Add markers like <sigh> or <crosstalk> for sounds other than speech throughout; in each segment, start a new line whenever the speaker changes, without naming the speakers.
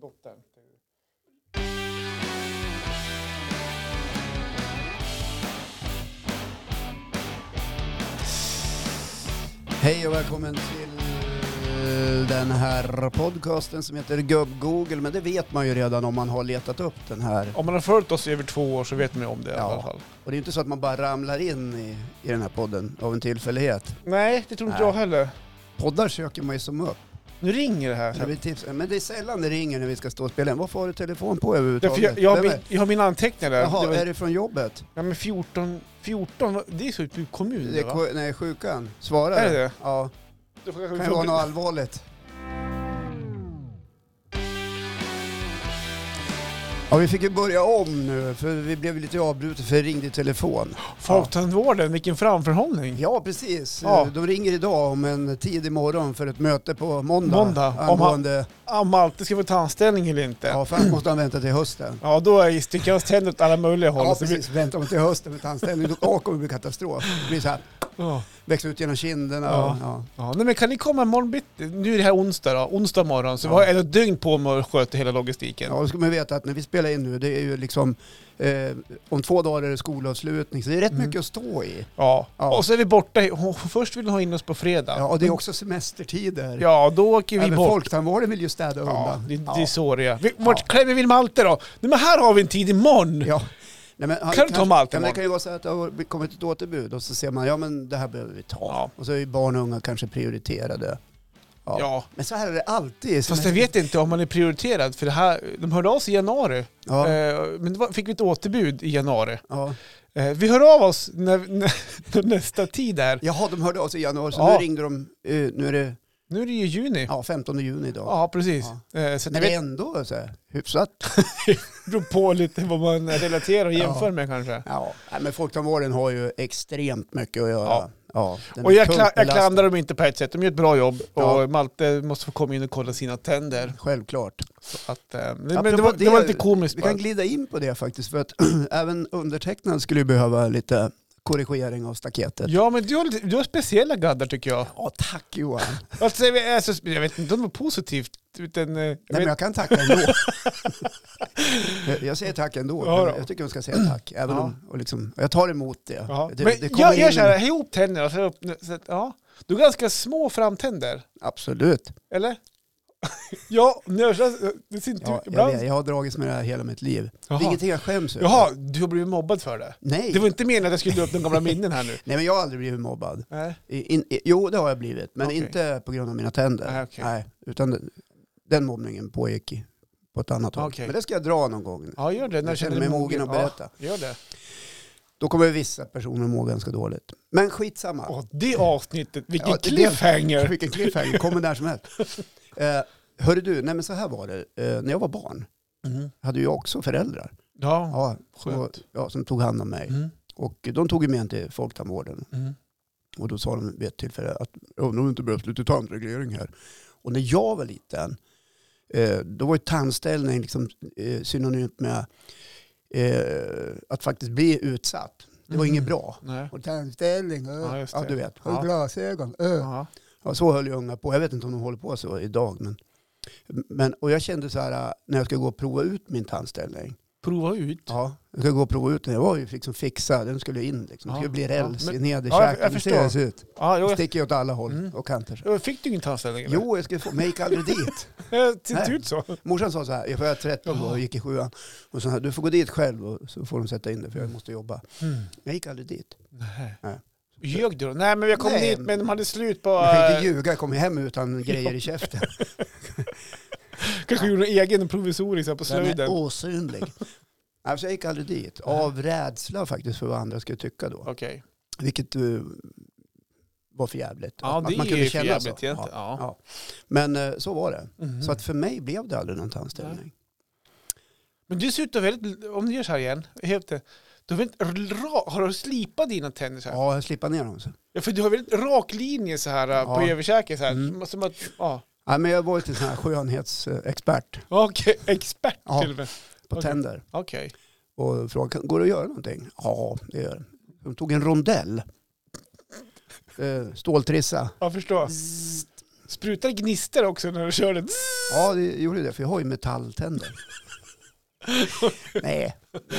dottern.
Hej och välkommen till eh, den här podcasten som heter Gubb-Google. Men det vet man ju redan om man har letat upp den här.
Om man har följt oss i över två år så vet man ju om det i
Ja.
alla fall.
Och det är ju inte så att man bara ramlar in i, i den här podden av en tillfällighet.
Nej, det tror inte
Nej.
jag heller.
Poddar söker man ju som upp.
Nu ringer det här.
Jag vill tipsa- Men det är sällan det ringer när vi ska stå och spela in. Varför har du telefon på
Därför
överhuvudtaget?
jag, jag, har
Vem är-
min, jag har mina anteckningar där.
Jaha,
det var,
är det från jobbet?
nej, men 14, 14, vad- det är så ut kommun
Det
det,
är,
va?
ko- nej, sjukan. Svara
Är
då.
det?
Ja,
Det får kanske
det kan ju
funka.
vara något allvarligt. Ja, vi fick ju börja om nu, för vi blev lite avbrutna för det ringde i telefon.
Folktandvården, vilken framförhållning.
Ja, precis.
Ja.
De ringer idag om en tidig morgon för ett möte på måndag.
Måndag. Om han-
Angående...
Om Malte ska få tandställning eller inte. Ja,
Ja, för annars måste han vänta till hösten.
då är sticker hans tänder åt alla möjliga håll.
Ja,
Så vi-
precis. Vänta om till hösten med tandställning. Då då kommer det bli katastrof. Det blir så här,
Ja.
växa ut genom kinderna.
Ja.
och- Ja.
Ja, nej, men kan ni komma imorgon bitti? Nu är det här onsdag då, onsdag morgon, så
Ja.
vi har ett dygn på mig att sköta hela logistiken.
Ja, då ska man veta att när vi spelar in nu, det är ju liksom eh, om två dagar är det skolavslutning, så det är rätt
Mm.
mycket att stå i.
Ja.
Ja.
Och så är vi borta. i- hon- Först vill hon ha in oss på fredag.
Ja, och det är också semestertider.
Ja, då åker vi
Även
bort.
folktandvården vill ju städa
Ja,
undan.
det, det är
ja.
så det är. Vi, vart
Ja.
klämmer vi Malte då? Nej men här har vi en tid imorgon!
Ja. Nej, men, han-
Kan du ta med allt
ja, men Det
imorgon?
kan ju vara så här att det har kommit ett återbud och så ser man, ja men det här behöver vi ta.
Ja.
Och så är ju barn och unga kanske prioriterade. Ja.
ja.
Men så här är det alltid. i
Fast
semester.
jag vet inte om man är prioriterad, för det här, de hörde av sig i januari.
Ja,
Eh, men då var- fick vi ett återbud i januari.
ja.
Eh, vi hör av oss när, <laughs> när, när nästa tid är.
Jaha, de hörde av sig i januari, så
Ja.
nu ringde de, eh, nu är det
Nu är det ju juni. Ja,
ja, 15 juni idag.
precis. Eh, så att
Men
jag
det
vet
är ändå så här, hyfsat.
Det beror på lite vad man relaterar och jämför
Ja.
med kanske.
Ja, nej, men folktandvården har ju extremt mycket att göra.
Ja.
Ja. den
Och
är
jag,
tungt
kla- jag
belastad.
klandrar dem inte på ett sätt, de gör ett bra jobb
Ja.
och Malte måste få komma in och kolla sina tänder.
Självklart.
Så att, eh, men
Apropå
det, var, det var
det,
lite komiskt
Vi
bara.
kan glida in på det faktiskt, för att <clears throat> även undertecknad skulle ju behöva lite korrigering av staketet.
Ja men du har, lite- du har speciella gaddar tycker jag.
Ja, tack Johan.
Alltså, jag, vet- alltså, jag vet inte om det var positivt, utan... eh, Jag
<laughs> Nej, men
vet,
jag kan tacka ändå. <laughs> jag, jag säger tack ändå.
Ja, då.
jag tycker man ska säga tack. Även
Ja.
om, och liksom, jag tar emot det.
ja.
det,
men
det kommer
jag,
in-
jag känner, hej ihop tänderna. Så, så, att, ja. Du har ganska små framtänder,
Absolut.
eller? <laughs> ja, nörsas, det ser inte
Ja,
ut
jag,
ibland.
vet, jag har dragits med det här hela mitt liv. Det
Jaha.
är ingenting jag skäms över.
Jaha, du har blivit mobbad för det?
Nej.
Det var inte meningen att jag skulle dra upp de gamla minnen här nu.
Nej, men jag har aldrig blivit mobbad.
Nej.
I- In, i, jo, det har jag blivit, men
Okej.
inte på grund av mina tänder.
Nej, okej.
utan den, den mobbningen pågick i, på ett annat håll.
Okej. Ah.
Men det ska jag dra någon gång.
Ja, gör det. När
Jag känner
du
mig
dig
mogen att berätta.
Ja, gör det.
Då kommer vissa personer må ganska dåligt. Men skitsamma.
Åh, det avsnittet, vilken
Ja, det-
cliffhanger!
Vilken cliffhanger, kommer när
<laughs>
som helst. Eh, hörru du, nej men så här var det. Eh, när jag var barn
Mhm.
hade jag också föräldrar.
Ja,
Ja, och,
Ah, skönt.
ja, som tog hand om mig.
Mm,
Och de tog ju med en till folktandvården.
mm.
Och då sa de vid ett tillfälle att jag undrar om det inte behövs lite tandreglering här. Och när jag var liten, eh, då var ju tandställning liksom, eh, synonymt med eh, att faktiskt bli utsatt. Det var
Mhm.
inget bra.
Nej.
Och tandställning, eh,
Ja,
ja,
just det.
du vet.
Ja.
Och glasögon. eh.
Ja.
Ja, så höll ju unga på. Jag vet inte om de håller på så idag. Men, men, och jag kände så här, eh, när jag ska gå och prova ut min tandställning.
Prova ut.
Ja. Jag ska gå och prova ut den. Jag var ju liksom fixad. Den skulle in liksom. Det
Ja.
skulle bli räls
Ja, men-
i nederkäken.
Ja, jag- jag
Det ser
förstår.
ut.
Ja, jo,
Det sticker ju åt alla håll
Mm.
och kanter.
jag- Fick du ingen tandställning? eller?
Jo, jag skulle få, men jag gick aldrig dit.
Det ser inte
Nej.
ut så.
Morsan sa så här, jag var 13 då och gick i sjuan. Och så här, du får gå dit själv och så får de sätta in det för jag måste jobba. Jag gick aldrig dit.
Mm. Nej.
Nej.
Ljög du då? Nej, men jag kom
Nej.
dit men de hade slut på...
Jag kan inte
eh,
ljuga, jag kom hem utan grejer
<laughs>
i käften.
eh, Kanske gjorde en egen provisorisk här på
Den är
slöjden.
osynlig. Nej, så jag gick aldrig dit, av rädsla faktiskt för vad andra skulle tycka då.
Okej.
Vilket eh, var för jävligt.
Ja,
Att
det
man
är
kunde
ju
känna
för
så.
jävligt egentligen.
Ja.
Ja.
Men eh, så var det.
Mhm.
Så att för mig blev det aldrig någon tandställning.
Men du ser ut att ha väldigt... Om du gör så här igen. Helt, eh, du har, väldigt ra, har du slipat dina tänder så här?
Ja, jag slippade ner dem. Så.
Ja, för du har väldigt rak linje så här eh, på
Ja.
överkäken så här.
Mm.
Som att, ja.
Ja, men jag var ju till sån här skönhetsexpert
Okej, expert
Ja.
till och med.
på
Okej.
tänder
Okej.
och frågade, går det att göra någonting? Ja, det gör det. De tog en rondell, eh, ståltrissa,
Jag förstår.
Zzzt.
Sprutar det gnistor också när du kör den?
Ja, det gjorde det, för jag har ju metalltänder. Nej, Nej,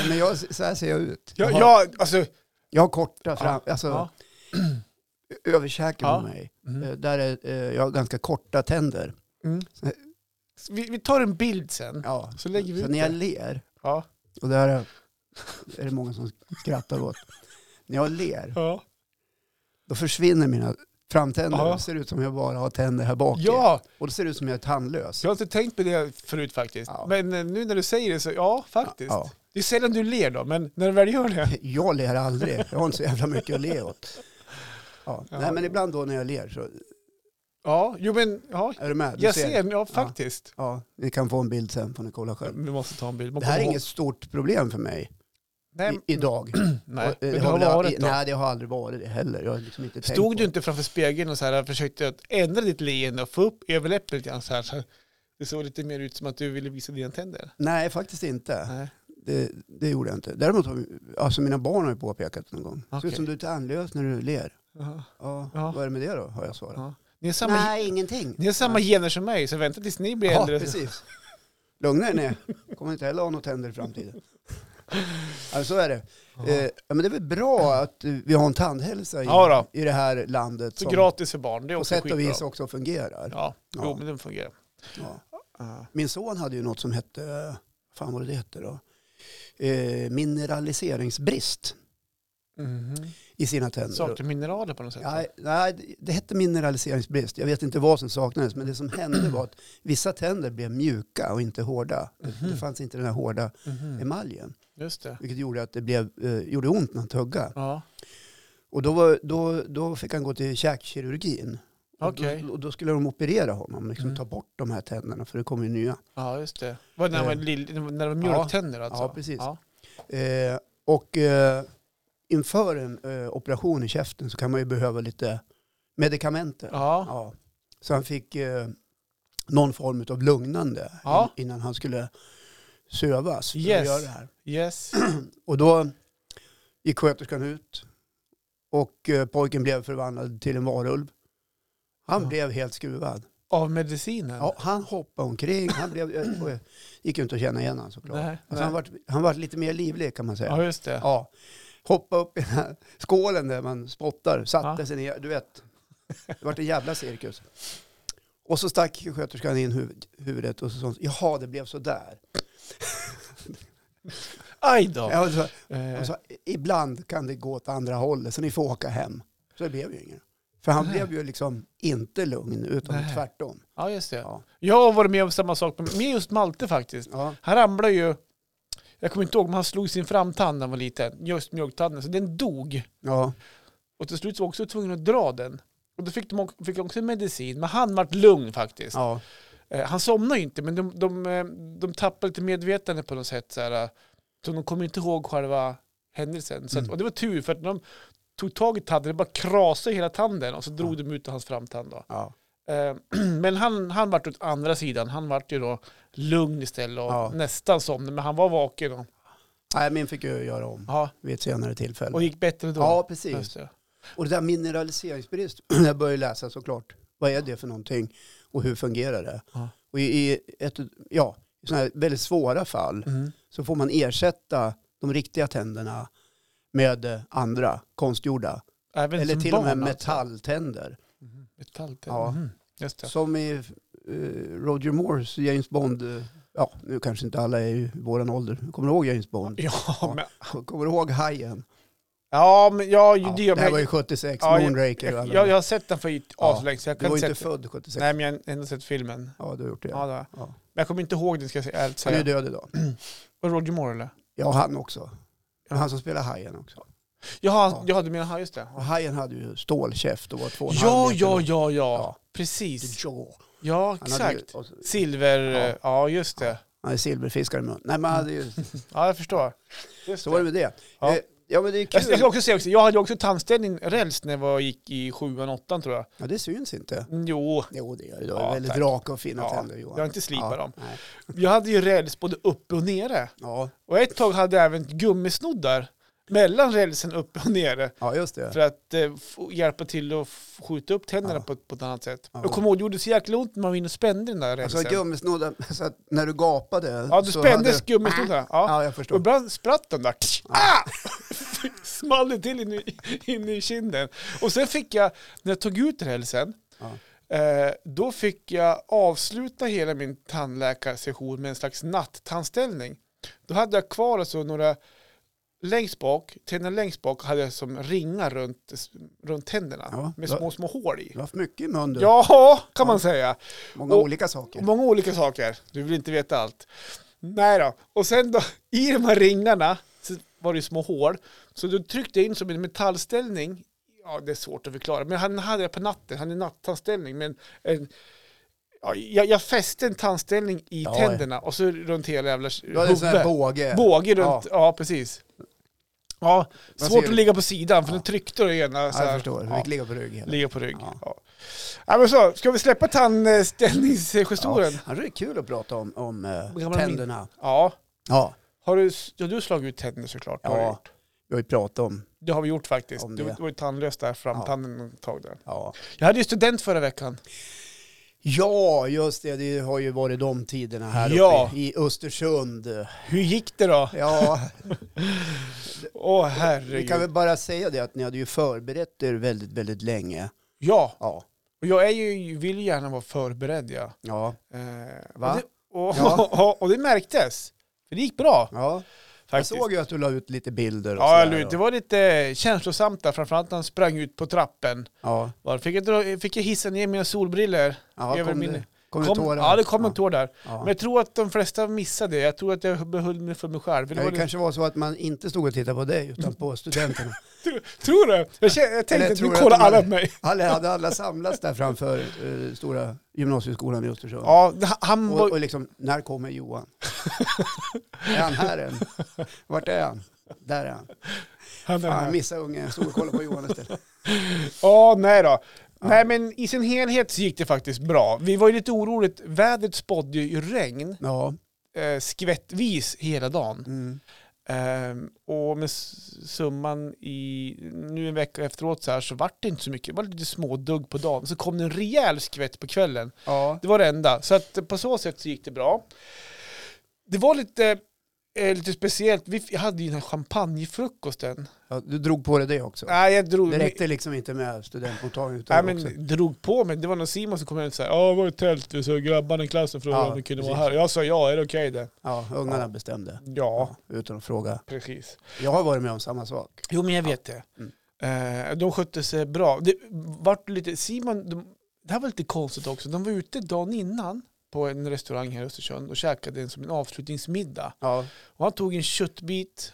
men jag, så här ser jag ut.
Ja,
har,
ja alltså...
jag har korta fram, alltså
ja.
överkäken
Ja.
på mig.
Mm.
Eh, Där är, eh, jag har ganska korta tänder.
Mm. Så Vi, vi tar en bild sen.
Ja.
Så lägger vi
så
ut
när jag
det.
ler,
Ja.
och där är, är det många som skrattar åt. När jag ler,
Ja.
då försvinner mina framtänder.
Ja.
Det ser ut som jag bara har tänder här bak. i.
ja,
Och det ser ut som jag är tandlös.
jag har inte tänkt på det förut faktiskt.
Ja.
Men eh, nu när du säger det så, ja faktiskt.
Ja.
Det är sällan du ler då, men när du väl gör det.
Jag ler aldrig. Jag har inte så jävla mycket att le åt. Ja.
Ja.
Nej, men ibland då när jag ler så
Ja, jo men, ja.
är du med. Du
Jag ser, Mm. ja faktiskt.
Ja, ni kan få en bild sen får ni kolla själv.
Vi måste ta en bild. Man
Det här är
kommer
inget stort problem för mig
ihåg-
i, idag.
<clears throat> Nej,
Och,
nej.
eh,
Men
det
det har
väl-
varit då.
Nej, det har aldrig varit det heller. Jag har liksom inte tänkt på
Stod du
det.
inte framför spegeln och så här, försökte att ändra ditt leende och få upp överläppen lite grann så här? Så här. det såg lite mer ut som att du ville visa dina tänder.
Nej, faktiskt inte.
Nej.
Det, det gjorde jag inte. Däremot har vi- alltså mina barn har ju påpekat någon gång. Det ser ut
Okej.
som du är tandlös när du ler.
Jaha.
Ja,
Ja.
Vad är det med det då? Har jag svarat.
Ja. Ni har samma,
Nej, ingenting.
ni har samma gener som mig, så vänta tills ni blir
Ja,
äldre.
precis. Lugna er ner. Kommer inte heller ha något tänder i framtiden. Ja, så är det.
Ja.
Eh, ja, men det är väl bra att eh, vi har en tandhälsa i,
Ja då.
i det här landet
Så
som
gratis för barn, det är
på
också
sätt och
skitbra.
vis också fungerar.
Ja, jo
Ja. Ah.
men den fungerar.
Ja.
Ja.
Min son hade ju något som hette, eh, fan vad det hette då, eh, mineraliseringsbrist
Mhm.
i sina tänder.
Saknar mineraler på något sätt?
Nej, nej, det- det hette mineraliseringsbrist. Jag vet inte vad som saknades, men det som hände var att vissa tänder blev mjuka och inte hårda.
Mhm.
Det fanns inte den här hårda
Mhm.
emaljen,
Just det.
vilket gjorde att det blev, eh, gjorde ont när han tuggade.
Ja,
Och då, var, då, då fick han gå till käkkirurgin. Och
Okej.
Då, och då skulle de operera honom, liksom
Mm.
ta bort de här tänderna för det kommer ju nya.
ja just det. Var det när, man, lill- när det var mjölktänder alltså?
Eh. Ja, precis.
Ja.
Eh, och eh, inför en eh, operation i käften så kan man ju behöva lite medikamenter.
Ja.
Ja. Så han fick eh, någon form av lugnande in-
Ja.
innan han skulle sövas för
Yes.
att göra det här.
Yes.
Och då gick sköterskan ut och eh, pojken blev förvandlad till en varulv. Han
Ja.
blev helt skruvad.
Av medicinen?
Ja, han hoppade omkring. Han blev, eh, gick ju inte att känna igen honom såklart.
Nej,
Alltså, han,
nej.
var, han var lite mer livlig kan man säga.
Ja, just det.
Ja. Hoppa upp i den här skålen där man spottar, satte sig ner, du vet. Det vart en jävla cirkus. Och så stack sköterskan in huvud, huvudet och så sa hon, jaha det blev sådär.
Aj då!
Ja. och så,
Eh,
och så, ibland kan det gå åt andra hållet så ni får åka hem. Så det blev ju inget. För han
Nej.
blev ju liksom inte lugn utan
Nej.
tvärtom.
ja, just det.
Ja.
Jag har varit med om samma sak med med just Malte faktiskt.
Ja.
Han ramlade ju, jag kommer inte ihåg, men han slog sin framtand när han var liten, just mjölktanden, så den dog.
Ja.
Och till slut så var jag också tvungen att dra den. Och då fick de också, fick också medicin, men han vart lugn faktiskt.
Ja.
Eh, han somnade ju inte, men de, de, eh, de tappade lite medvetande på något sätt. Så, här, eh, så de kommer inte ihåg själva händelsen. Så att,
Mm.
och det var tur, för att när de tog tag i tanden, det bara krasade hela tanden och så drog de ut hans framtand. Då.
Ja.
Eh, <clears throat> Men han, han vart åt andra sidan. Han vart ju då lugn istället och
Ja.
nästan somnade, men han var vaken och,
Nej, min fick ju göra om
ja,
vid ett senare tillfälle.
och gick bättre då.
ja, precis.
Just det.
Och det där mineraliseringsbrist, <clears throat> jag började läsa såklart. Vad är det för någonting och hur fungerar det?
Ja.
Och i, i ett, ja, i sådana här väldigt svåra fall
Mm.
så får man ersätta de riktiga tänderna med eh, andra konstgjorda.
Även
Eller
som
till och med
barn, alltså.
metalltänder.
Mhm, Metall.
Ja.
Mhm, Just
<laughs>
det.
Som i eh, Roger Moores James Bond. eh, Ja, nu kanske inte alla är i våran ålder. Kommer du ihåg James Bond?
Ja, men,
<laughs> Kommer du ihåg Hajen?
ja, men ja, ju
Ja,
det gör
det här
men-
var ju 76,
Ja, jag-
<laughs> Moonraker. och
Jag,
alla de
jag,
där.
har sett den för aslänge, så jag
Du
kan
var ju
inte
inte
säga...
född 76.
Nej, men jag har ändå sett filmen.
Ja, du har gjort det.
Ja, det har jag.
Ja.
Men jag kommer inte ihåg den, ska jag säga. ärligt
Han är ju
säga.
död idag.
Och Roger Moore, eller?
Ja, han också. Men Han som spelar Hajen också.
Jaha,
Ja.
ja. du menar, ja, just det.
Och Hajen hade ju stålkäft och var två och en halv
Ja,
meter
ja,
lång.
ja, ja.
Ja.
Precis.
Ja,
Ja,
Han hade, ju,
exakt.
och så-
Silver...
Ja.
eh, Ja, just det.
han hade silverfiskar i munnen. Nej, men han hade ju,
Ja, jag förstår. Just
så var det med det.
Ja.
Ja, ja men det är
Jag jag
kul.
ska också säga också, jag hade ju också tandställning räls när jag gick i sjuan, åttan tror jag.
Ja, det syns inte.
Mm, Jo,
Jo, det gör det. Du
Ja,
har väldigt
tack.
raka och fina
Ja,
tänder,
jag
Johan.
har inte slipat
ja,
dem.
nej.
Jag hade ju räls både uppe och nere.
Ja,
Och ett tag hade jag även gummisnoddar mellan rälsen uppe och nere
Ja, just det.
för att eh, f- hjälpa till att f- skjuta upp tänderna
Ja.
på, ett- på ett annat sätt.
Ja.
Jag kommer ihåg, det gjorde så jäkla ont när man var inne och spände den där rälsen.
Alltså gummisnodden, <laughs> så att när du gapade.
ja, du
så
spände
hade-
gummisnoddarna. Ja.
Ja, jag
Och
förstår.
ibland spratt den där. Ah! <laughs> Small det till in i, in i kinden. Och sen fick jag, när jag tog ut rälsen,
Ja.
eh, då fick jag avsluta hela min tandläkarsession med en slags nattandställning. Då hade jag kvar alltså några längst bak, tänderna längst bak hade jag som ringar runt, runt tänderna
Ja,
med
va-
små, små hål i.
Du har haft mycket i munnen.
Ja, kan man
Ja.
säga.
Många
och-
olika
Och
saker.
många olika saker. Du vill inte veta allt. Nej då. Och sen då, i de här ringarna så var det ju små hål. Så du tryckte jag in som en metallställning. Ja, det är svårt att förklara. Men han hade jag på natten. Han är nattandställning. Men en, ja, jag, jag fäste en tandställning i
Ja, ja.
tänderna och så runt hela jävla
Du hade en sån här båge.
Båge runt. Ja, precis. Ja,
Man
svårt
ser-
att ligga på sidan för
Ja.
nu tryckte du ena så
ja, alltså, jag
här.
förstår. Du
Ja.
fick ligga på rygg hela
Ligga på rygg. Ja.
Ja.
Ja, men så, ska vi släppa tandställningsgestoren?
Ja, det är kul att prata om, om eh,
Gamla
tänderna.
Ja.
Ja,
Har du, ja, du har slagit ut tänder såklart. Det har du
Ja.
gjort.
vi har ju pratat om.
Det har vi gjort faktiskt.
Om
Du
det.
var ju tandlös där
Ja.
framtanden ett tag där.
Ja.
Jag hade ju student förra veckan.
ja, just det. Det har ju varit de tiderna här
Ja.
uppe i, i Östersund.
Hur gick det då?
Ja,
<laughs> Åh
vi
herregud.
kan väl bara säga det att ni hade ju förberett er väldigt, väldigt länge.
Ja,
Ja.
och jag är ju, vill gärna vara förberedd. Ja.
Ja.
Eh,
Va?
Och det, <laughs> och,
Ja.
och det märktes. För det gick bra.
ja. Jag
Faktiskt.
såg ju att du la ut lite bilder och
Ja,
sådär.
eller hur? det var lite känslosamt där, framförallt när han sprang ut på trappen.
Ja,
Var, fick, jag dra, fick jag hissa ner mina solbriller
ja
över
kom,
min...
det, kom, det
kom-
tårar?
Ja, det kom en
Ja.
tår där.
Ja.
Men jag tror att de flesta missade det. Jag tror att jag behöll mig för mig själv. Det
Det
var det-
kanske var så att man inte stod och tittade på dig
<laughs>
utan på studenterna.
Tror du? Jag, känner, jag tänkte
Eller
att nu
tror jag
kollar
att de
alla
hade-
på mig.
Alla hade alla samlats där framför eh, stora gymnasieskolan i Östersund.
Ja, det- han
Och,
var...
och liksom, när kommer Johan? är han här än? Vart är han? Där är han.
Han är
Fan,
här.
missa ungen. Jag stod och kollade på Johan
<laughs>
istället.
Ja, nej då. Nej, men i sin helhet så gick det faktiskt bra. Vi var ju lite oroliga. Vädret spådde ju regn
Ja.
eh, skvättvis hela dagen.
Mm.
Ehm, och med s- summan i... Nu en vecka efteråt så här så vart det inte så mycket. Det var lite smådugg på dagen. Så kom det en rejäl skvätt på kvällen.
ja.
Det var det enda. Så att på så sätt så gick det bra. Det var lite, eh, lite speciellt. Vi f- hade ju den här champagnefrukosten.
ja. Du drog på dig det också.
Nej, jag drog,
Det räckte liksom inte med studentmottagningen.
nej,
utan också-
men, drog på mig. Det var någon Simon som kom in och sa ja, det var ett tält. Vi såg grabbarna i klassen frågade
Ja,
om vi kunde
precis.
vara här. Jag sa ja, är det okej det?
Ja, ungarna bestämde.
Ja,
Utan att fråga.
precis.
Jag har varit med om samma sak.
Jo, men jag vet det.
Mm.
Eh, de skötte sig bra. Det vart lite, Simon, de, det här var lite konstigt också. De var ute dagen innan på en restaurang här i Östersund och käkade en som en avslutningsmiddag.
Ja.
Och han tog en köttbit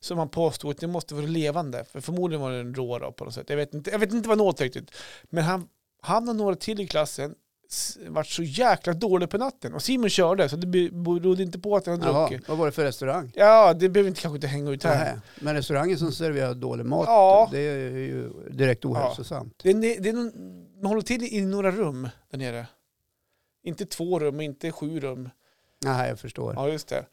som han påstod att det måste vara levande. För förmodligen var den rå då, på något sätt. Jag vet inte, jag vet inte vad han åt riktigt. Men han, han och några till i klassen s- vart så jäkla dålig på natten. Och Simon körde, så det be- berodde inte på att han hade
Jaha,
druckit.
vad var det för restaurang?
Ja, det behöver vi inte, kanske inte hänga ut här.
Nej, men restaurangen som serverar dålig mat,
Ja.
det är ju direkt ohälsosamt.
Det är, det är någon, man håller till i några rum där nere. Inte två rum och inte sju rum.
Nej, jag förstår. Ja.
Ja, just det.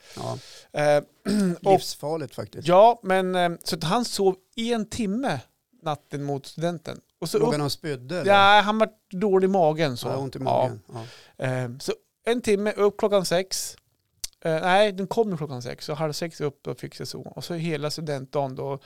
Eh, <clears throat> och,
Livsfarligt faktiskt.
ja, men eh, så att han sov i en timme natten mot studenten. Och så
Låg
upp
han och spydde? eller?
Ja, han var dålig i magen. Så.
Han hade ont i magen. Ja.
Ja. Ehm, Så en timme, upp klockan sex. Eh, nej, den kom ju klockan sex. Så halv sex upp och fick sig så. Och så hela studentdagen då.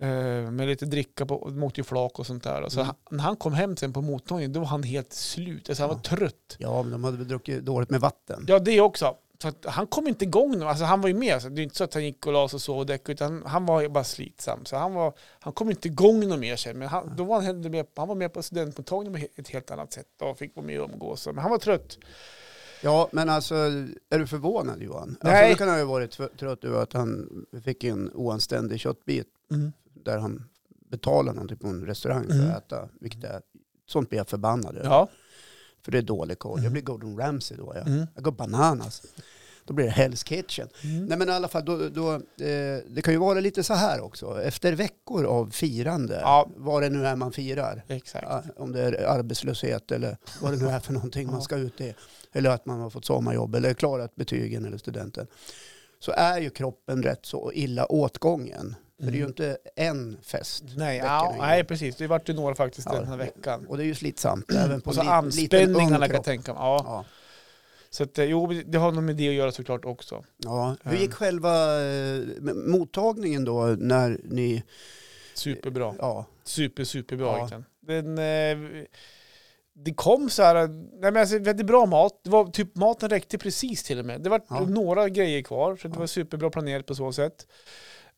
eh, Med lite dricka på, de åkte ju flak och sånt där. Och Så
Mm.
han, när han kom hem sen på mottagningen, då var han helt slut. Alltså han var trött.
Ja, men de hade väl druckit dåligt med vatten.
Ja, det också. Så att han kom inte igång nu. Alltså han var ju med. Så det är inte så att han gick och la sig och sov och däckade, utan han var ju bara slitsam. Så han, var, han kom inte igång något mer sen. Men han, då var han, hellre med, han var med på studentmottagningen på ett helt annat sätt och fick vara med och umgås. Men han var trött.
Ja, men alltså, är du förvånad Johan?
Nej.
Alltså, då kan han ju ha varit tr- trött över att han fick en oanständig köttbit där han betalar någonting på en restaurang för
Mm.
att äta, vilket är, sånt blir jag förbannad över.
Ja.
För det är dålig koll.
Mm.
Jag blir Gordon Ramsay då. Jag,
Mm.
jag går bananas. Då blir det Hell's Kitchen. Nej men i alla fall, då, då, eh, det kan ju vara lite så här också. Efter veckor av firande,
Ja.
vad det nu är man firar,
Exakt.
ja, om det är arbetslöshet eller vad det nu är för någonting
Ja.
man ska ut i, eller att man har fått sommarjobb eller klarat betygen eller studenten, så är ju kroppen rätt så illa åtgången. För det är ju inte en fest.
Mm. Nej,
veckan
ja,
innan.
nej precis. Det vart ju några faktiskt
Ja.
den här veckan.
Och det är ju slitsamt även på
<clears throat> Och så
en li- liten ung
anspänningarna kan jag
kropp.
tänka mig. Ja.
Ja.
Så att, eh, jo, det har nog med det att göra såklart också.
Ja. Hur
Mm.
gick själva eh, mottagningen då när ni...
Superbra.
Ja,
Super, superbra
Ja.
gick den. den eh, det kom så här, nej men alltså, vi hade bra mat, det var typ maten räckte precis till och med. Det var
Ja.
några grejer kvar, så det
Ja.
var superbra planerat på så sätt.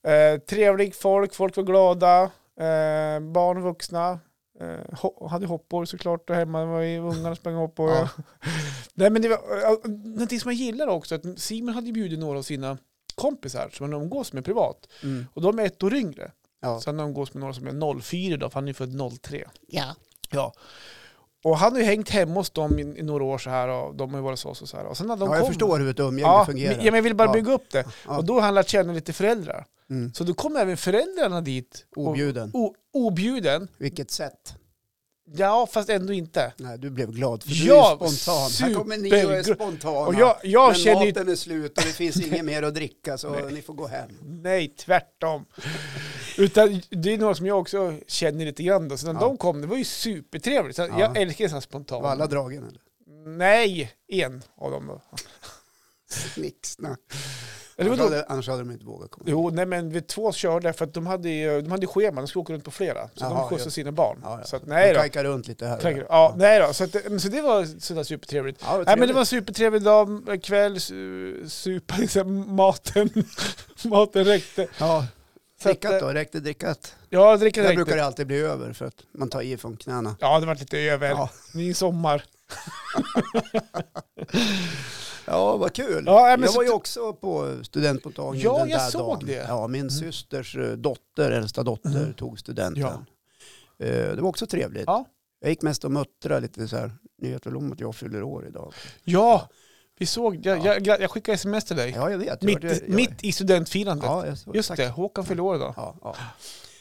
Eh, trevlig folk, folk var glada, eh, barn och vuxna. Eh, ho- hade hoppor såklart och hemma var ju ungarna sprang hoppor.
Ja.
<laughs> Nej men det var eh, någonting som jag gillar också, att Simon hade bjudit några av sina kompisar som han umgås med privat.
mm.
Och de är ett år yngre.
ja.
Sen umgås med några som är 04 då, för han är ju född 03.
ja.
Ja. Och han har ju hängt hemma hos dem i, i några år så här och de har ju varit så och så, så här. Och sen när de
ja
kom,
jag förstår hur ett umgänge
Ja,
fungerar.
men- ja, men jag vill bara
Ja.
bygga upp det.
Ja.
Och då har han lärt känna lite föräldrar.
Mm.
Så då kom även föräldrarna dit. och-
Objuden.
O, objuden.
Vilket sätt?
Ja, fast ändå inte.
Nej, du blev glad för
Ja,
du är ju spontan. Här kommer ni och är
supergl-
spontana.
Och jag, jag
men
känner ju...
maten är slut och det
<laughs>
finns inget mer att dricka så ni får gå hem.
Nej, tvärtom. Utan det är något som jag också känner lite grann då. Så när
Ja.
de kom, det var ju supertrevligt. Så
Ja.
Jag älskar sådana spontana.
Var alla dragen eller?
Nej, en av dem då.
Snicksnack.
Eller
Annars
vadå?
hade, annars hade de inte vågat komma.
Jo, nej men vi två körde för att de hade ju de hade ju schema, de skulle åka runt på flera. Så
Jaha,
de skjutsade
just.
sina barn.
Ja, ja.
Så att,
De
nej då.
kajkar runt lite här och
Tänker,
där.
ja, nej då. Så, att, eh, men så det var sådär supertrevligt.
Ja,
Nej
vad
men det
trevligt.
var supertrevlig dag, kväll, su- supa, <laughs> liksom, maten, <laughs> maten räckte.
Ja,
Så att, eh,
drickat då? Räckte drickat?
Ja, dricka
Där
räckte.
brukar det alltid bli över för att man tar i från knäna.
Ja, det var lite över.
Ja,
Ny sommar.
ja vad kul.
Ja, nej, men
jag
så
var ju
t-
också på studentmottagningen
Ja,
den
jag
där
såg
dagen.
det.
Ja, min systers eh, dotter, äldsta dotter,
Mm.
tog studenten.
Ja.
Eh, Det var också trevligt.
Ja.
Jag gick mest och muttrade lite så här. Ni vet väl om att jag fyller år idag?
Ja, vi såg, jag,
Ja.
jag, jag, skickade sms till dig.
Ja, jag vet.
mitt,
jag, jag,
mitt i studentfirandet.
ja, jag, såg-
Just
tack.
det, Håkan fyllde år idag.
Ja, ja.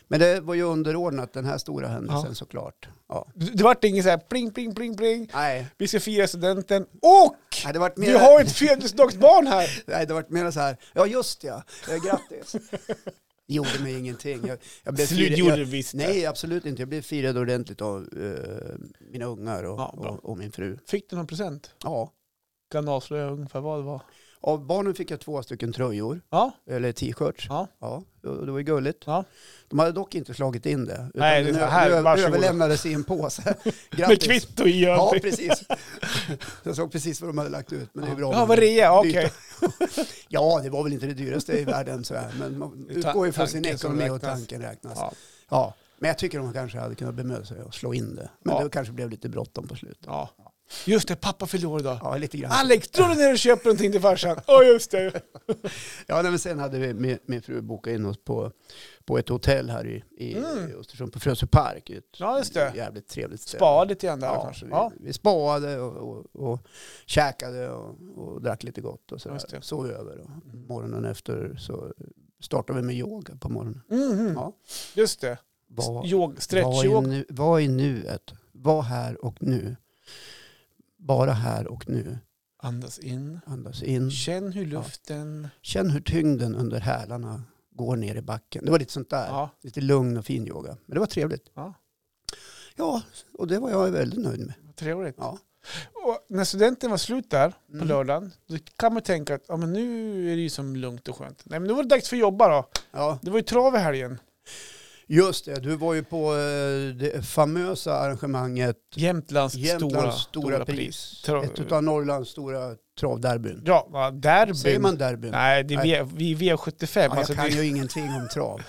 Men det var ju underordnat den här stora händelsen såklart. Ja.
Det det vart ingen så här pling, pling, pling, pling.
Nej,
Vi ska fira studenten och
nej, det vart
vi
mer...
har ett födelsedagsbarn
<laughs>
här.
Nej, det vart mer så här, ja just ja, eh, grattis. Det gjorde mig ingenting. Jag, jag blev
Slut
firad-
gjorde
jag-
det visst det.
Nej, absolut inte. Jag blev firad ordentligt av eh, mina ungar och,
Ja, bra.
och, och min fru.
Fick du någon present?
Ja.
Kan avslöja ungefär vad det var.
Av barnen fick jag två stycken tröjor,
Ja,
eller t-shirts.
Ja.
det det var ju gulligt.
Ja.
De hade dock inte slagit in det. Utan
Nej, det är
den
så
ö-
här,
ö-
varsågoda.
överlämnades i en påse.
<laughs> med
Grattis.
kvitto i
Ja,
övrigt.
precis. <laughs> Jag såg precis vad de hade lagt ut, men det är bra.
Ja, vad rea, okej.
Byta. Ja, det var väl inte det dyraste i världen, så här, men
<laughs>
man
Det är ta-
utgår ju från sin
tanken som
ekonomi och
räknas.
tanken räknas.
Ja,
Ja. Men jag tycker de kanske hade kunnat bemöda sig och slå in det. Men
Ja.
det kanske blev lite bråttom på slutet.
ja. Just det, pappa fyllde år idag.
Ja, lite grann.
Alex, drar du ner och köper någonting till farsan? Ja, just det.
Ja, nej, men sen hade vi, min, min fru bokat in oss på, på ett hotell här i, i
Mm.
Östersund, på Frösö Park. Ett
Ja, just det.
Jävligt trevligt ställe.
Spara lite grann där
Ja, så
kanske.
vi,
Ja.
vi spaade och, och, och käkade och, och drack lite gott och
Just det. Mm.
sådär. Sov över och morgonen efter så startade vi med yoga på morgonen.
Mhm,
Ja.
Just det.
Var,
Jog,
var, i
stretchjog.
nu, var i nuet? Var här och nu. Bara här och nu.
Andas in.
Andas in.
Känn hur luften...
Känn hur tyngden under hälarna går ner i backen. Det var lite sånt där.
Ja.
Lite lugn och fin yoga. Men det var trevligt.
Ja.
Ja, och det var jag väldigt nöjd med.
vad Trevligt.
Ja.
Och när studenten var slut där på
Mm.
lördagen, då kan man tänka att ja, men nu är det ju som lugnt och skönt. Nej, men nu var det dags för att jobba då.
Ja,
Det var ju trav i helgen.
Just det, du var ju på eh, det famösa arrangemanget
Jämtlands, stora,
Jämtlands stora, pris.
Tra-
Ett av Norrlands stora travderbyn.
Ja, va, derbyn.
Säger man derbyn?
Nej, det är V- vi är V75.
Ja, jag
alltså,
kan
det,
ju ingenting om
<laughs>
trav.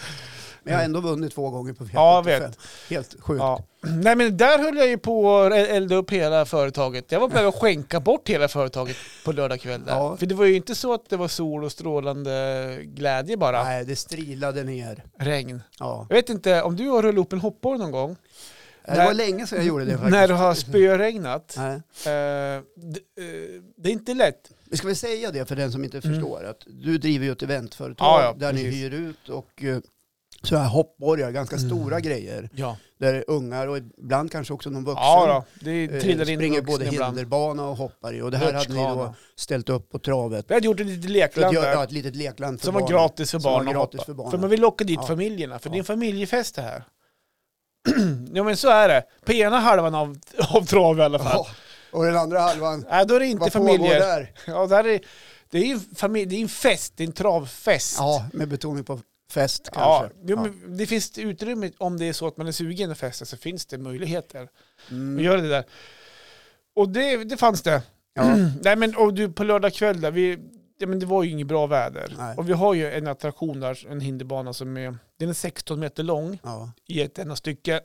Men jag har ändå vunnit två gånger på V75.
Ja, jag vet.
Helt sjukt.
ja. Nej, men där höll jag ju på att elda upp hela företaget. Jag var på väg att skänka bort hela företaget på lördag kväll. Där.
Ja.
För det var ju inte så att det var sol och strålande glädje bara.
Nej, det strilade ner.
Regn.
Ja.
Jag vet inte om du har rullat upp en hoppborg någon gång?
Det var
När-
länge sedan jag gjorde det faktiskt.
När det har spöregnat.
<laughs> Nej.
Eh, d- eh, det är inte lätt.
Vi ska väl säga det för den som inte
Mm.
förstår att du driver ju ett eventföretag
Ja, ja,
där ni
precis. Mm.
hyr ut och eh, så här hoppborgar, ganska stora grejer.
Ja,
Där ungar och ibland kanske också någon vuxen
ja då, det
eh,
trillar in
springer
vuxen
både hinderbana och hoppar i. Och det här hade ni
Rutschkana.
då ställt upp på travet.
Vi hade gjort ett litet
För att
lekland
göra
där.
ja, ett litet lekland för
Som
barnen.
var gratis för
Som var
barn att
gratis
hoppa.
för barnen.
man vill locka dit
Ja.
familjerna, för det är
Ja.
en familjefest det här. <clears throat> ja men så är det. På ena halvan av, av trav i alla fall.
Ja. Och den andra halvan,
Nej, då är det inte
vad pågår
familjer.
där?
Ja, där är, det är ju familj, det är en fest, det är en travfest.
Ja, med betoning på fest
Ja,
kanske.
jo, men det finns utrymme om det är så att man är sugen att festa så finns det möjligheter att
Mm.
göra det där. Och det, det fanns det.
ja.
Nej men och du på lördag kväll där, vi, ja, men det var ju inget bra väder.
Nej.
Och vi har ju en attraktion där, en hinderbana som är, den är 16 meter lång
ja.
i ett enda stycke.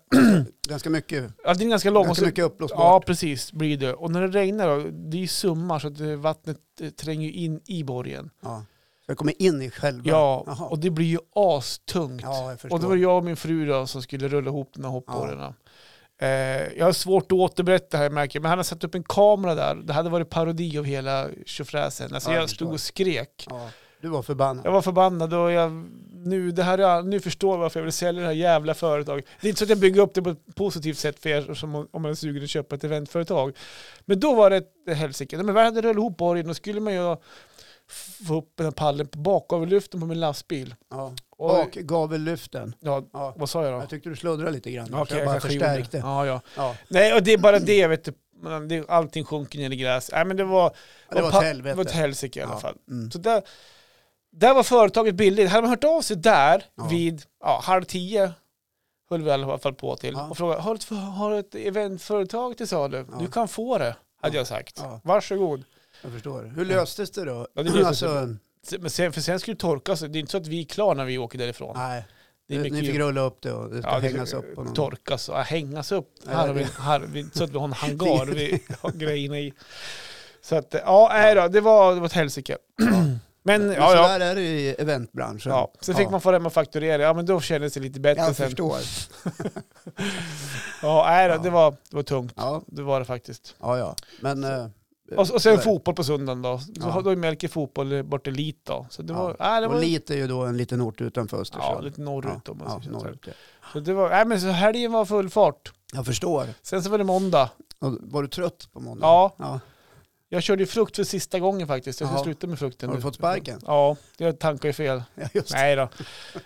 Ganska mycket,
Ja, det är ganska lång. och
ganska
så-
mycket uppblåsbart.
Ja, precis blir det. Och när det regnar då, det är ju summar så att eh, vattnet eh, tränger ju in i borgen.
Ja. Så jag kommer in i själva?
Ja,
Jaha.
och det blir ju astungt.
ja jag förstår.
och då var det jag och min fru då, som skulle rulla ihop de här hoppborgarna. Eh, jag har svårt att återberätta det här märker jag, men han har satt upp en kamera där. Det hade varit parodi av hela tjofräsen. Alltså
Ja, jag
jag stod
förstår.
och skrek.
ja. Du var förbannad?
Jag var förbannad och jag, nu, det här, är- nu förstår jag varför jag vill sälja det här jävla företaget. Det är inte så att jag bygger upp det på ett positivt sätt för er som om man är sugen att köpa ett eventföretag. Men då var det ett helsike. Men väl hade rullat ihop borgen och skulle man ju få upp den här pallen på bakgavellyften på min lastbil.
Ja.
Och,
Och gavellyften.
ja,
Ja.
vad sa jag då?
Jag tyckte du sluddrade lite grann.
Ja,
så jag bara
kanske gjorde det.
förstärkte.
Ja, ja.
Ja.
Nej, och det är bara det, vet du. Man- det- Allting sjunker ner i gräs. Nej, men det var,
Ja, Det var
pa-
ett helvete.
det var ett helsike i alla
Ja.
fall.
Mm.
Så där, där var företaget billigt. Hade man hört av sig där
Ja.
vid ja, halv tio, höll vi i alla fall på till,
Ja.
och frågade har du ett, har du ett eventföretag till salu?
Ja.
Du kan få det, hade
Ja.
jag sagt.
Ja.
Varsågod.
Jag förstår. Hur löstes det då?
Ja, det löstes
alltså,
Se- Men sen, för sen skulle det torka, så det är inte så att vi är klara när vi åker därifrån.
nej.
det är
Ni- Ni
mycket-
fick rulla upp det och det ska
Ja, det-
hängas upp på någon.
Torkas och ja, hängas upp.
Ja,
här har
det-
vi, här, vi, så att vi har en
<laughs>
hangar vi har grejerna i. Så att, ja, nej då, det var, det var ett helsike.
Ja.
Men,
Men
ja, ja.
sådär är det i eventbranschen.
ja. Sen fick
Ja.
man få hem och fakturera, ja men då kändes det lite bättre
Jag
sen.
förstår.
Ja, nej då,
Ja.
det, var, det var tungt.
Ja,
Det var det faktiskt.
ja, ja. Men eh,
Och, och sen
så är det.
fotboll på söndagen då. Då
Ja.
har- Då är Melker fotboll bort till Lit då. Så det
Ja.
var, nej, det
och
var
Lit är ju då en liten ort utanför
ja,
Östersund.
lite norrut om man
ja,
säger så.
norrut, ja.
Så det var, nej men så helgen var full fart.
Jag förstår.
Sen så var det måndag.
Och Var du trött på måndag?
Ja.
ja. <laughs>
Jag körde ju frukt för sista gången faktiskt. Jag ska
Jaha.
sluta med frukten
Har du
nu.
fått sparken?
Ja, jag tankar ju fel.
Ja, just det. <laughs>
Nej då.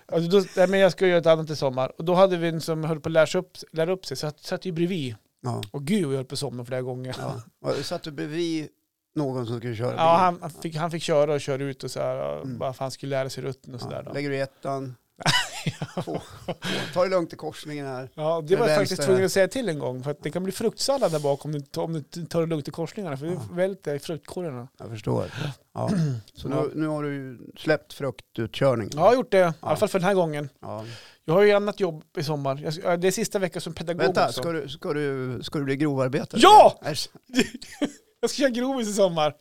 Alltså, då nej, men jag ska göra ett annat i sommar. Och då hade vi en som höll på att lära sig upp, lära upp sig, så jag satt ju bredvid.
Ja.
Och gud, jag höll på att somna flera gånger. Ja,
Ja. Och Satt du bredvid någon som skulle köra
han, han, fick, han fick köra och köra ut och så här, och
Mm.
bara för han skulle lära sig rutten och sådär.
Ja.
Då.
Lägger du i ettan?
<laughs>
Två. Ta det lugnt i korsningen här.
Ja, det var
Med
jag faktiskt
vänster.
tvungen att säga till en gång, för att det kan bli fruktsallad där bak om du, inte- om du inte tar det lugnt i korsningarna, för det
Ja.
välter i fruktkorgarna.
Jag förstår.
<clears throat>
Ja. Så
Ja.
nu, nu har du ju släppt fruktutkörningen.
Ja, jag har gjort det, i alla fall för den här gången.
Ja.
Jag har ju annat jobb i sommar. Jag, ska- det är sista veckan som pedagog
Vänta,
också.
ska du, ska, du, ska du bli grovarbetare?
Ja!
Äsch.
Jag ska köra grovis i sommar.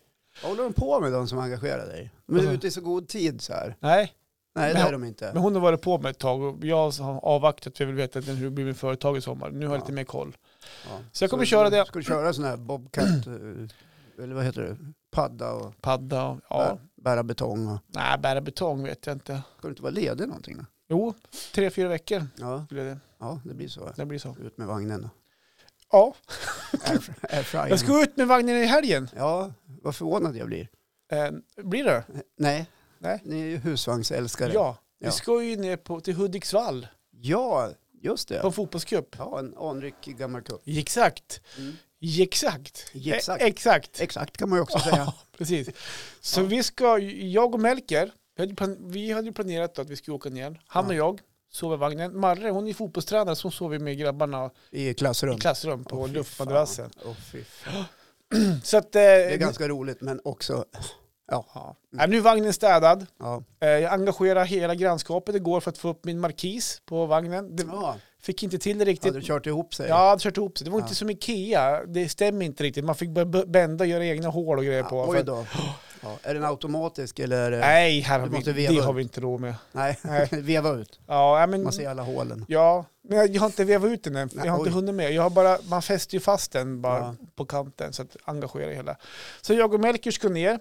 Vad håller de på med, de som engagerar dig? De är
Alltså.
ute i så god tid så här.
Nej,
Nej, det
Men-
är de inte.
Men hon har varit på mig ett tag och jag har avvaktat för jag vill veta hur det blir med företag i sommar. Nu har jag
Ja.
lite mer koll.
Ja.
Så jag kommer köra det.
Ska du köra sån här bobcat, eh, eller vad heter det, padda och
Padda och ja.
bära, bära betong? Och.
Nej, bära betong vet jag inte.
Ska du inte vara ledig någonting? Då?
Jo, tre, fyra veckor
Ja,
skulle det,
ja, det blir så.
det blir så.
Ut med
<laughs>
vagnen då.
Ja,
Airfry- Airfrying.
jag ska ut med vagnen i helgen.
Ja, vad förvånad jag blir.
Eh, blir det?
Nej,
Nej.
ni är ju husvagnsälskare.
Ja. Vi
Ja.
ska ju ner på, till Hudiksvall
ja just
på en
det.
fotbollscup.
Ja, en anrik gammal kupp.
Exakt.
Mm.
Exakt.
Exakt.
E- exakt.
Exakt kan man ju
<laughs>
också säga.
Precis. Så vi ska, jag och Melker, vi hade plan- vi hade ju planerat att vi skulle åka ner. Han
Ja.
och jag sover i vagnen. Marre, hon är fotbollstränare, så hon sover med grabbarna
I klassrum.
i klassrum på
Åh, fy
luftmadrassen.
fan. Åh, fy fan.
Så att... Eh,
Det är ganska roligt men också,
ja. Nej, Nu är vagnen städad.
ja.
Eh, Jag engagerar hela grannskapet igår för att få upp min markis på vagnen. Det
ja.
fick inte till det riktigt.
Hade du kört ihop sig?
Ja, jag hade kört ihop sig. Det var
Ja.
inte som Ikea. Det stämmer inte riktigt. Man fick börja b- bända och göra egna hål och grejer
Ja,
på. För
Oj
att-
då. Ja. Är den automatisk eller? är det-
Nej, här har
Du måste
vi,
veva
det har
upp.
vi inte råd med.
Nej.
Nej.
<laughs> Veva ut.
Ja, nej, men
Man ser alla hålen.
Ja, men jag, jag har inte vevat ut den än.
Nej,
jag har inte
oj.
hunnit med. Jag har bara, man fäster ju fast den bara
Ja.
på kanten så att engagera hela. Så jag och Melker ska ner.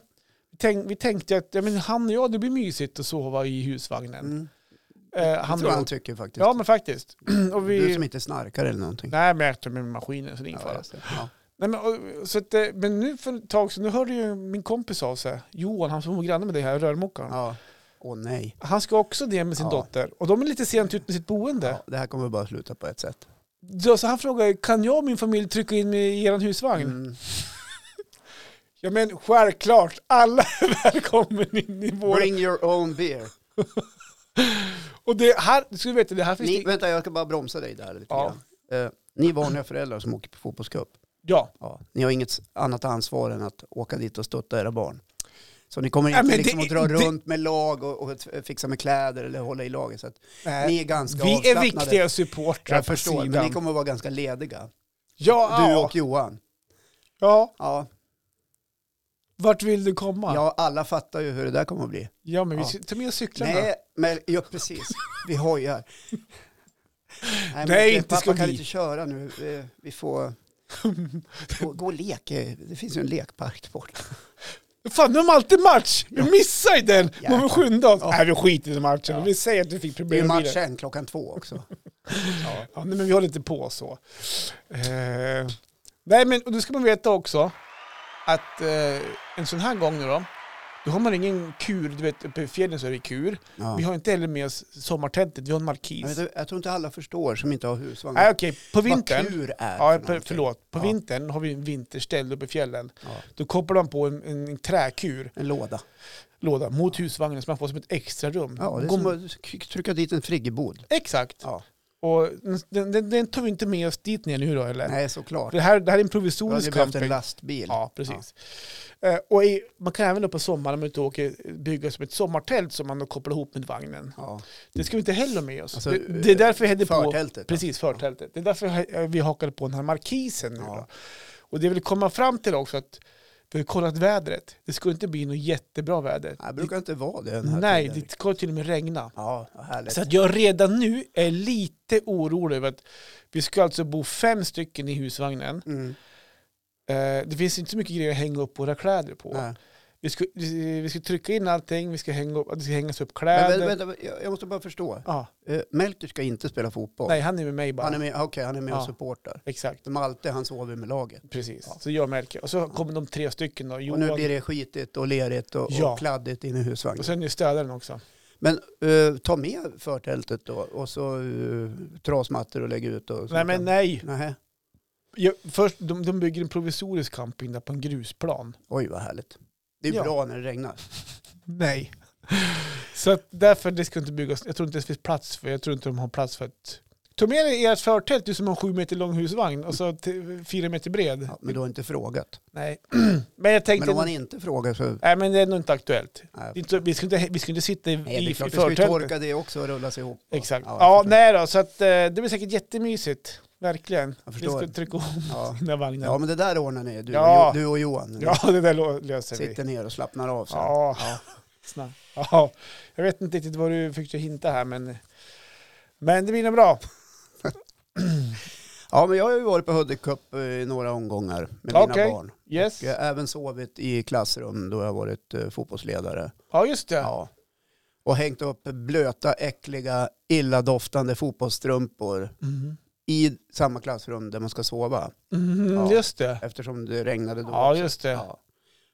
Tänk, vi tänkte att ja, men han och jag, det blir mysigt att sova i husvagnen.
Mm.
Eh,
Det
han
tror jag
drog.
han tycker faktiskt.
Ja, men faktiskt. <clears throat> och
Du som
vi...
inte snarkar eller någonting.
Nej, men jag tog med maskinen så det är ingen
ja,
fara.
just det. ja.
Nej, men, och, så att, eh, men nu för ett tag sedan, nu hörde ju min kompis av sig, Johan, han som bor granne med dig här, rörmokaren.
ja. Åh nej.
Han ska också det med sin
Ja.
dotter. Och de är lite sent ut med sitt boende.
Ja, det här kommer bara sluta på ett sätt.
Så- Så han frågar, kan jag och min familj trycka in mig i er husvagn?
Mm.
Ja men självklart, alla är välkomna in i vår...
Bring your own beer.
Och det här, ska du veta, det här finns
Ni,
det...
vänta, jag ska bara bromsa dig där lite
Ja.
grann. Eh, ni är vanliga föräldrar som åker på fotbollscup.
Ja.
Ja, ni har inget annat ansvar än att åka dit och stötta era barn. Så ni kommer
Nej,
inte
men
liksom
det-
att dra
det-
runt med lag och, och t- fixa med kläder eller hålla i laget. Så att ni är ganska
vi är
avslappnade.
viktiga supportrar
Jag
på
förstår,
sidan.
men ni kommer att vara ganska lediga.
ja,
Du
ja.
och Johan.
ja,
Ja,
vart vill du komma? Ja,
ja, alla fattar ju hur det där kommer att bli.
men
Ja.
vi tar med cyklarna. Nej.
Nej, men ja, precis. Vi hojar.
<laughs>
Nej, men
Nej,
det-
inte
pappa
ska
kan
vi.
inte köra nu. Eh, Vi får
<laughs>
gå, gå och leka. Det finns ju en lekpark bort.
Fan, nu har man alltid match! Vi missar ju den!
Ja.
Man vill skynda oss.
Ja.
Nej, vi skiter i matchen.
Ja.
Vi säger att vi fick
Det är
problem
ju
med
match
bilen.
sen klockan två
<laughs>
också. Ja.
Ja, nej, men vi håller inte på så. Eh, nej, men och då ska man veta också att eh, en sån här gång nu då, då har man ingen kur, du vet uppe i fjällen så är det kur.
Ja.
Vi har inte heller med oss sommartältet, vi har en
Jag,
markis.
vet, inte, jag tror inte alla förstår som inte har husvagn.
Nej okej, på
Vad
vintern,
tur
ja,
är. någonting.
på, förlåt, på
Ja.
vintern har vi en vinterställ uppe i fjällen.
Ja,
Då kopplar man på en, en, träkur,
en låda.
låda, mot husvagnen så man får som ett extra rum.
Ja, det är
Går-
som att k- trycka dit en friggebod.
Exakt,
Ja.
och den, den, den tar vi inte med oss dit ner nu då eller?
Nej, såklart.
Det här, det här är en
Du hade
provisorisk
behövt en
camping.
lastbil.
Ja, precis. Eh, och i, man kan även då på sommaren om man åker, bygga som ett sommartält som man då kopplar ihop med vagnen.
Ja.
Det ska vi inte heller ha med oss.
Alltså,
det, det är därför vi hade på...
Förtältet. ja.
Precis, förtältet. Det är därför he- vi hakade på den här markisen nu
Ja.
då. Och det jag vill komma fram till också att vi har kollat vädret. Det skulle inte bli något jättebra väder.
Nej, Det brukar inte vara det den här
Nej,
tiden.
det ska till och med regna.
Ja, vad härligt.
Så att jag redan nu är lite orolig över att vi ska alltså bo fem stycken i husvagnen.
Mm.
Eh, det finns inte så mycket grejer att hänga upp våra kläder på.
Nej.
Vi ska, vi ska trycka in allting, vi ska hänga upp, det ska hängas upp
Men,
kläder.
vänta, vänta, jag jag måste bara förstå.
Ja,
Eh, Melker ska inte spela fotboll.
nej, han är med mig bara.
han är med, okej, han är med och
Ja.
supportar.
Exakt,
Malte, han sover med laget.
precis.
Ja.
Så jag och Melker. Och så kommer de tre stycken då.
Och
Johan,
nu
och,
blir det skitigt och lerigt och,
Ja.
och kladdigt inne i husvagnen.
sen är ju städaren också.
Men eh, ta med förtältet då och så eh, trasmattor och lägg ut. Och så
Nej,
kan-
men nej.
Nähä.
Jag, först, de, de bygger en provisorisk camping där på en grusplan.
Oj, vad härligt. Det är
Ja.
bra när det regnar.
Nej. så att därför, det ska inte byggas. Jag tror inte det finns plats för, jag tror inte de har plats för att... Ta med dig ert förtält, du som har sju meter lång husvagn och så t- fyra meter bred.
Ja, men du har inte frågat.
Nej. <clears throat> men jag <laughs> tänkte...
Men om man inte frågar så...
Nej men det är nog inte aktuellt. Det är
Nej,
inte, vi, ska inte, vi ska inte sitta i,
nej
i,
det
i
är klart. Det ska ju
förtältet.
torka det också och rullas ihop. Och,
Exakt. Ja,
jag förstår.
nej då, så att, eh, det blir säkert jättemysigt. Verkligen.
Jag
Vi
förstår.
ska trycka om
Ja.
den här vagnen.
ja, men det där ordnar ni. Du,
Ja.
och, Jo- du och Johan.
Ja, <laughs> det där lo- löser vi.
Sitter ner och slappnar av sen.
Ja.
Ja.
Snabbt. <laughs> ja. Jag vet inte riktigt vad du fick hinta här, men, men det blir nog bra.
Ja, men jag har ju varit på Hudik Cup eh, i några omgångar med mina
Okej.
barn.
Yes.
Jag har även sovit i klassrum då jag har varit eh, fotbollsledare.
Ja, just det.
Ja. Och hängt upp blöta, äckliga, illadoftande fotbollsstrumpor
Mhm.
i samma klassrum där man ska sova.
Mhm,
Ja.
Just det.
Eftersom det regnade då.
Ja,
också.
just det.
Ja.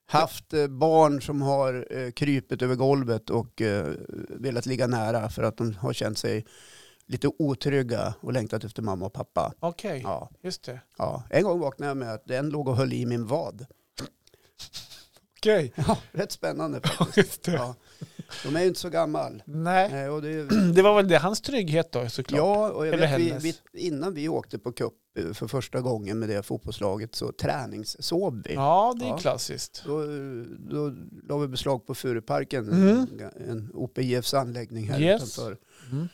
Haft eh, barn som har eh, krypit över golvet och eh, velat ligga nära för att de har känt sig lite otrygga och längtat efter mamma och pappa.
Okej,
Ja.
just det.
Ja, en gång vaknade jag med att den låg och höll i min vad.
Okej. <laughs>
Ja, <laughs> rätt spännande.
Ja, just det.
Ja. De är ju inte så gammal.
Nej. <clears throat>
Eh, Och det är,
Det var väl det hans trygghet då såklart.
<clears throat> ja, och jag
Eller
vet, vi,
hennes.
vi, innan vi åkte på cup eh, för första gången med det fotbollslaget så träningssov vi.
Ja, det är
Ja.
klassiskt.
Då, då la vi beslag på Furuparken,
Mm.
en OPJFs anläggning här
Yes.
utanför.
Mm.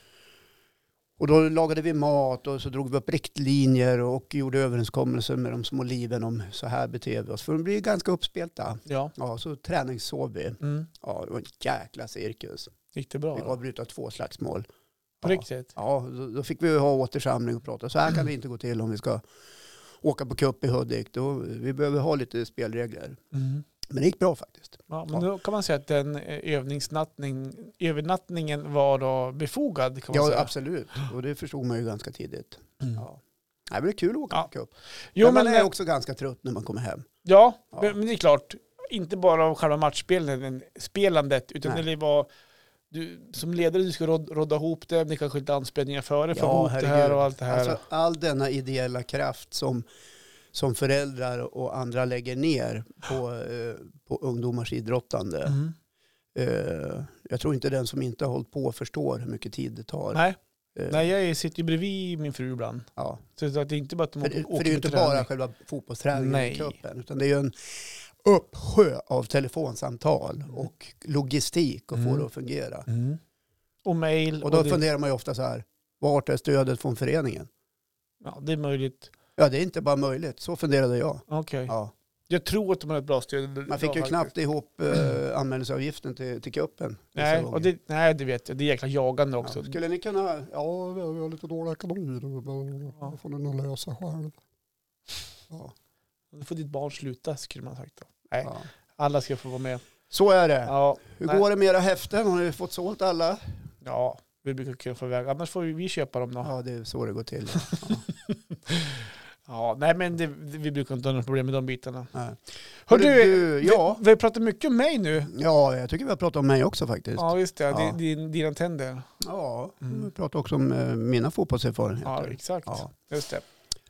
Och då lagade vi mat och så drog vi upp riktlinjer och gjorde överenskommelser med de små liven om så här beter vi oss. För de blir ganska uppspelta.
Ja.
Ja, så träningssov vi.
Mm.
Ja, det var en jäkla cirkus.
Gick det bra
Vi
då?
avbröt två slagsmål.
På
Ja.
riktigt?
Ja, då, då fick vi ha återsamling och prata. Så här kan det inte gå till om vi ska åka på cup i Hudik. Då, vi behöver ha lite spelregler.
Mm.
Men det gick bra faktiskt.
Ja, men då kan man säga att den eh, övningsnattning, övernattningen var då befogad. Kan man
Ja,
säga.
absolut. Och det förstod man ju ganska tidigt.
Mm.
Ja. Nej, men det är kul att åka
Ja.
cup.
Jo,
men
men, eh,
man är också ganska trött när man kommer hem.
ja,
Ja.
men men det är klart. Inte bara av själva matchspelandet, utan
Nej.
det var du, som ledare du ska råd, rådda ihop det, ni kanske lite anspelningar före, för
Ja,
ihop det här
herregud.
och allt det här.
Alltså, all denna ideella kraft som, som föräldrar och andra lägger ner på, eh, på ungdomars idrottande.
Mm.
Eh, jag tror inte den som inte har hållit på förstår hur mycket tid det tar.
Nej,
Eh,
nej, jag är- sitter ju bredvid min fru ibland.
Ja.
Så att det är inte bara att de
För, det-
åker
för det är ju
på
inte
träning.
bara själva fotbollsträningen
Nej.
i cupen, utan det är ju en uppsjö av telefonsamtal och logistik och få
Mm.
det att fungera.
Mm. Och mail.
Och då
det,
funderar man ju ofta så här, vart är stödet från föreningen?
ja, det är möjligt.
Ja, det är inte bara möjligt, så funderade jag.
Okej.
Ja.
Jag tror att de har ett bra stöd.
Man fick ju knappt ihop eh, anmälningsavgiften till, till cupen. vissa
Nej,
gånger.
och det, nej, det vet jag. Det är jäkla jagande också.
Ja. Skulle ni kunna, ja vi har vi har lite dålig ekonomi, då
Ja.
då får ni nog lösa själv. Ja.
Då får ditt barn sluta, skulle man ha sagt. Då. Nej,
Ja.
alla ska få vara med.
Så är det.
Ja,
Hur
Nej.
går det med era häften? Har ni fått sålt alla?
ja vi brukar kunna få iväg. Annars får vi, vi köpa dem då. Ja.
Ja, det är så det
<laughs>
går till.
nej, men det, det, vi brukar inte ha några problem med de bitarna.
Nej.
Hör du,
ja.
vi, vi har pratat mycket om mig nu.
ja, jag tycker vi har pratat om mig också faktiskt. Ja,
Ja, just det.
Ja.
Din- Din, dina tänder. Mm.
vi pratar också om eh, mina
Ja,
fotbollserfarenheter.
exakt.
Ja.
Just det.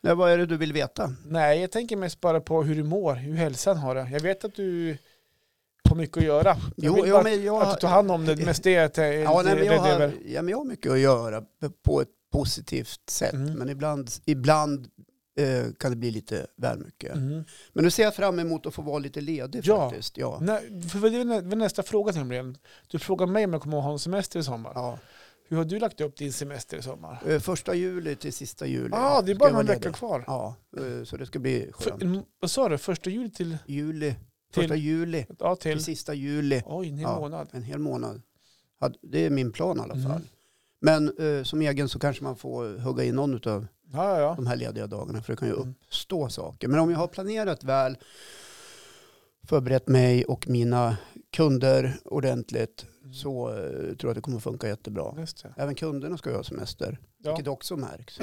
Nej, vad är det du vill veta?
Nej, jag tänker mest bara på hur du mår, hur hälsan har det. Jag vet att du har mycket att göra. Jag
Jo,
vill
ja,
bara
men jag,
att du tar hand om det, mest det är att jag är
Ja,
lite
nej, men jag,
rädd
har,
över.
ja, men jag har mycket att göra p- på ett positivt sätt.
Mm.
Men ibland, ibland eh, kan det bli lite väl mycket.
Mm.
Men nu ser jag fram emot att få vara lite ledig
Ja. Mm.
faktiskt. Ja.
Nej, för det var nä- det var nästa fråga nämligen. Du frågar mig om jag kommer att ha en semester i sommar.
Ja.
Hur har du lagt upp din semester i sommar?
Eh, Första juli till sista juli.
Ja, ah, det är
ska
bara
jag vara
någon vecka
ledig.
kvar.
Ja, eh, så det ska bli
För,
skönt.
mm, vad sa du? Första juli till...
Juli, första
till-
juli
Ja, till...
till sista juli.
Oj, en hel
Ja.
månad.
En hel månad. Ja, Det är min plan i alla
Mm.
fall. Men eh, som egen så kanske man får hugga in någon av
Ja, ja, ja.
de här lediga dagarna för det kan ju
Mm.
uppstå saker. Men om jag har planerat väl, förberett mig och mina kunder ordentligt
Mm.
så eh, tror jag att det kommer funka jättebra.
Just det.
Även kunderna ska ju ha semester,
Mm. Ja.
vilket också märks.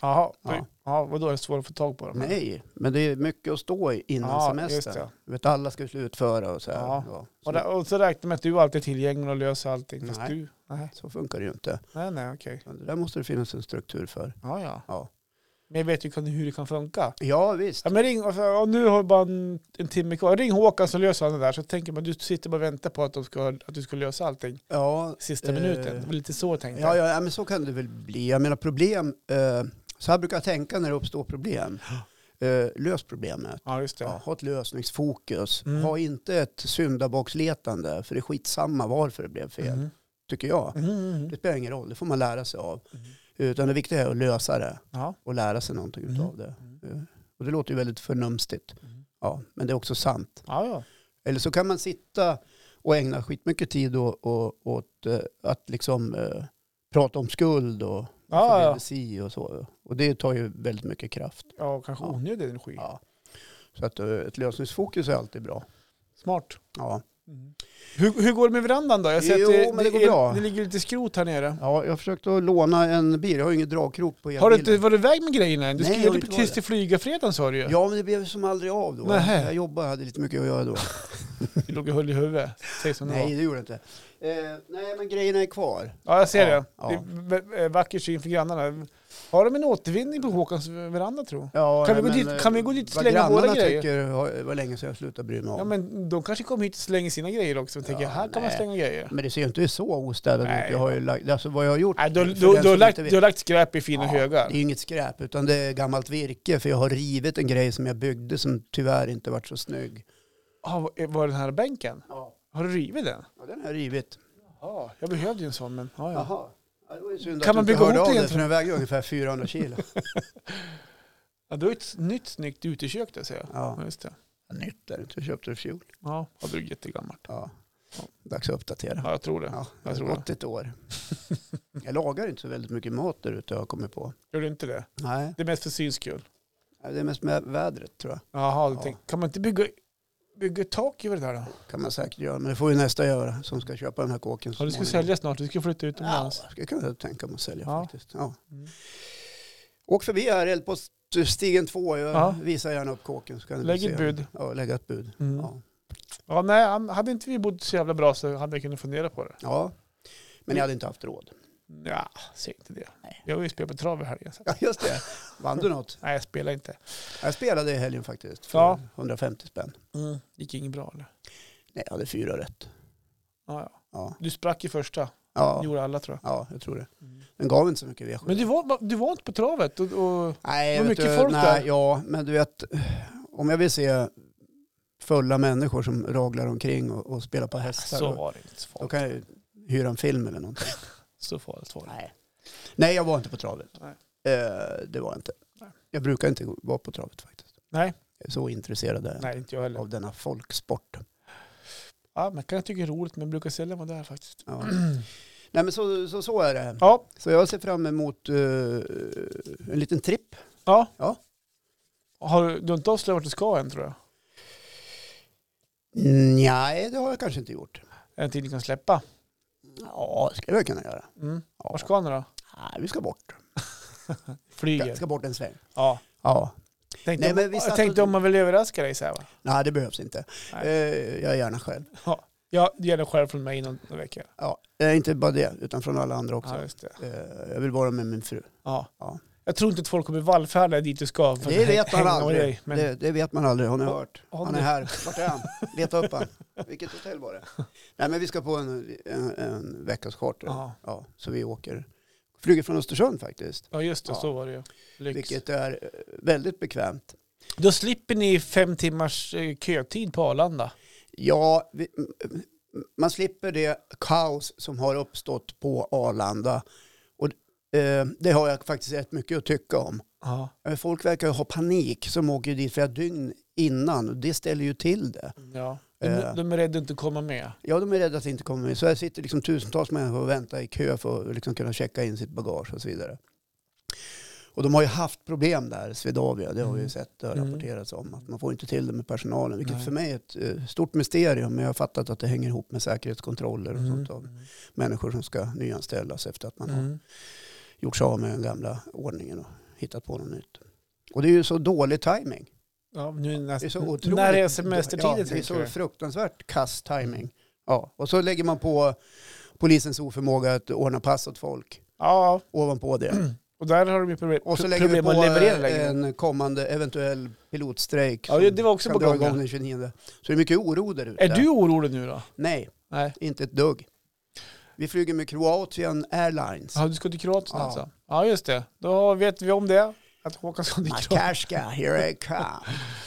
Jaha,
Ja.
ja. vadå, är det svårt att få tag på dem?
Nej, men det är mycket att stå i innan
Ja, just
semestern.
det.
Du vet, alla ska slutföra och så här.
Ja.
Ja. Så,
Och, där, och så räknar man att du alltid är tillgänglig och löser allting. Nej. Fast
Nej.
du, nej,
så funkar det ju inte.
nej, nej okej.
Det där måste det finnas en struktur för.
Ja, ja.
Ja,
Men jag vet ju kan- hur det kan funka.
ja visst.
Ja, men ring, och så- ja, nu har vi bara en, en timme kvar. Ring Håkan så löser han det där. Så tänker man, du sitter bara och väntar på att, de ska, att du ska lösa allting
Ja,
sista
Eh,
minuten. Det var lite så jag tänkte
Ja, ja, ja, men så kan det väl bli. Jag menar problem, eh, så här brukar jag tänka när det
<gasps>
uppstår problem. Eh, lös problemet.
Ja, just det.
Ja, ha ett lösningsfokus.
Mm.
Ha inte ett syndabocksletande, för det är skitsamma varför det blev fel,
Mm.
tycker jag.
Mm, mm, mm.
Det spelar ingen roll, det får man lära sig av.
Mm.
Utan det viktiga är att lösa det
Ja.
och lära sig någonting
Mm.
utav det.
Mm.
Eh, Och det låter ju väldigt förnumstigt.
Mm.
Ja, men det är också sant.
Ja, ja.
Eller så kan man sitta och ägna skitmycket tid å- å- åt eh, att liksom eh, prata om skuld och
Ja, ja.
förbindelser si och så. Och det tar ju väldigt mycket kraft.
ja kanske
Ja.
onödig energi.
Ja. Så att eh, ett lösningsfokus är alltid bra.
Smart.
Ja,
Hur, hur går det med verandan då? Jag ser
Mm. Jo,
att det,
men det går
är,
bra.
det ligger lite skrot här nere.
ja jag försökte att låna en bil. Jag har ju ingen dragkrok på elbilen.
Har du inte varit iväg med grejerna än? Du
Nej,
skulle
jag har
ju
inte
tills
varit
till flygafredagen sa du ju.
Ja, men det blev som aldrig av då.
Nähä.
Jag jobbade, hade lite mycket att göra då.
Du låg och höll i huvudet. Säg som det var.
nej, det gjorde jag inte. Eh, nej, men grejerna är kvar.
Ja, jag ser
Ja,
det.
ja.
Det är v- v- vacker syn för grannarna. Har de en återvinning på Håkans veranda tro?
Ja,
Kan vi
nej,
gå dit-
eh,
kan vi gå dit och
vad
slänga våra
grannarna
grejer?
tycker har- var länge sedan jag slutade bry mig om.
Ja, men de kanske kommer hit och slänger sina grejer också. Och
Ja,
tänker, här kan man
nej.
slänga grejer.
Men det ser ju inte så ostädat
Nej.
ut. Jag har ju lagt, alltså vad jag har gjort.
Nej, du,
för
du,
den
du,
som
har
inte
lagt,
vet-
du har lagt skräp i fina
Ja,
högar.
Det är ju inget skräp, utan det är gammalt virke. För jag har rivit en grej som jag byggde som tyvärr inte varit så snygg.
Ah, var- var den här bänken?
Ja,
Har du rivit den?
den har jag rivit.
Ja, jag behövde ju en sån, men ja, ja.
Jaha. Ja, det var ju synd
Kan
att
man
du
bygga
inte hörde
ihop
av
det
dig, för den väger ju ungefär 400 kilo.
ja du har ju ett nytt snyggt utekök där ser jag.
Ja.
Ja, just det.
Nytt är det inte, jag köpte det i fjol.
Ja, ja, det är jättegammalt.
Ja. Dags att uppdatera.
Ja, jag tror det.
Ja, det
jag
har
tror det.
gått
<laughs>
ett år. Jag lagar inte så väldigt mycket mat där ute har jag kommit på.
Gör du inte det?
Nej,
Det är mest för syns skull.
det är mest med vädret tror jag.
Jaha, du
Ja.
tänk, kan man inte bygga bygga ett tak över det där då?
kan man säkert göra. Men det får ju nästa göra som ska köpa den här kåken.
Ja, du ska sälja snart, du ska flytta
Ja,
utomlands.
det kan jag tänka mig att sälja
Ja.
faktiskt. Ja.
Mm.
Åk förbi här, Eldpoststigen 2. Jag
Ja.
visar gärna upp kåken. Så kan du
Lägg
se
ett
den.
bud.
Ja, lägga ett bud.
Mm.
Ja.
Ja, nej, han- hade inte vi bott så jävla bra så hade jag kunnat fundera på det.
ja, men jag hade inte haft råd. <laughs>
Ja, säg inte det. Jag har ju spelat på trav i helgen. så-
Ja, just det. Vann du något?
Nej, jag spelar inte.
Jag spelade i helgen faktiskt för
Ja.
150 spänn.
Gick inget bra eller?
Nej, jag hade fyra rätt.
Ja, ja.
Ja,
Du sprack i första.
ja.
Gjorde alla tror jag.
ja jag tror det.
Mm.
Den gav inte så mycket V7.
Men du var, du var inte på travet? Och, och...
Nej,
Det var
vet
mycket
du,
folk
nej,
där.
Ja, men du vet, om jag vill se fulla människor som raglar omkring och, och spelar på hästar,
Så
då,
var det inte så
då
farligt.
kan jag ju hyra en film eller någonting.
Så farligt var det.
nej. nej, jag var inte på travet.
Nej.
Eh, det var jag inte.
Nej.
Jag brukar inte gå- vara på travet faktiskt.
Nej.
Jag är så intresserad är jag
Nej, inte jag heller.
av denna folksport.
Ja, man kan tycka det är roligt, men brukar sällan vara där faktiskt. <clears throat>
Ja. nej, men så, så, så är det.
Ja,
Så jag ser fram emot eh, en liten tripp.
ja.
Ja.
Har du, du har inte avslöjat vart du ska än tror jag.
Mm, Nej, det har jag kanske inte gjort.
En tid du kan släppa.
Ja, det skulle jag kunna göra.
Mm.
Ja.
Vart ska ni då?
Nej, vi ska bort.
Flyger?
Ska, ska bort en sväng.
Ja.
Ja.
Tänkte,
Nej,
om-
men vi
jag
satt
tänkte
och-
om man vill överraska dig så här va?
Nej, det behövs inte.
Nej.
Eh, jag är gärna själv.
Ja, det gäller själv från mig inom några veckor.
Ja, eh, inte bara det, utan från alla andra också.
Ja, just det.
Eh, jag vill vara med min fru.
Ja.
Ja.
Jag tror inte att folk kommer vallfärda dit du ska. för
Det
att
vet man
hänga med
aldrig.
dig, men
Det, det vet man aldrig, har ni hört?
har
Han
ni-
är här. Vart är han? Leta upp han. Vilket
<laughs>
hotell var det? Nej, men vi ska på en, en, en veckas charter.
Ja.
Ja, så vi åker. Flyger från Östersund faktiskt.
ja, just det.
Ja.
Så var det ju. Lyx.
Vilket är eh, väldigt bekvämt.
Då slipper ni fem timmars eh, kötid på Arlanda.
Ja, vi, m- m- man slipper det kaos som har uppstått på Arlanda. Och, eh, det har jag faktiskt rätt mycket att tycka om.
Ja,
Eh, Folk verkar ju ha panik som åker dit flera dygn innan och det ställer ju till det.
ja. De,
Eh.
de är rädda att inte komma med.
Ja, de är rädda att det inte kommer med. Så här sitter liksom tusentals människor och väntar i kö för att liksom kunna checka in sitt bagage och så vidare. Och de har ju haft problem där, Swedavia, det har vi ju
Mm.
sett och
Mm.
rapporterats om. Att man får inte till det med personalen, vilket
Nej.
för mig är ett eh, stort mysterium. Men jag har fattat att det hänger ihop med säkerhetskontroller och sånt av
Mm.
människor som ska nyanställas efter att man har
Mm.
gjort sig av med den gamla ordningen och hittat på något nytt. Och det är ju så dålig timing.
Ja, nu näst,
Det är så otroligt.
När det är semestertider
Ja, det är
tänker
så
jag.
fruktansvärt kass timing. Ja, och så lägger man på polisens oförmåga att ordna pass åt folk
Ja,
ovanpå det.
och där har de ju problem,
Och så lägger vi
problem
på eh,
att leverera längre.
en kommande eventuell pilotstrejk.
Ja,
som
det var också
kan
på
dra
gång, ja.
igång den 29. Så det är mycket oro där ute.
Är du orolig nu då?
Nej,
Nej.
inte ett dugg. Vi flyger med Croatian Airlines.
Ja, du ska till Kroatien
Ja.
alltså? Ja, just det. Då vet vi om det. Att Håkan ska till Kroatien.
Makarska, here I come.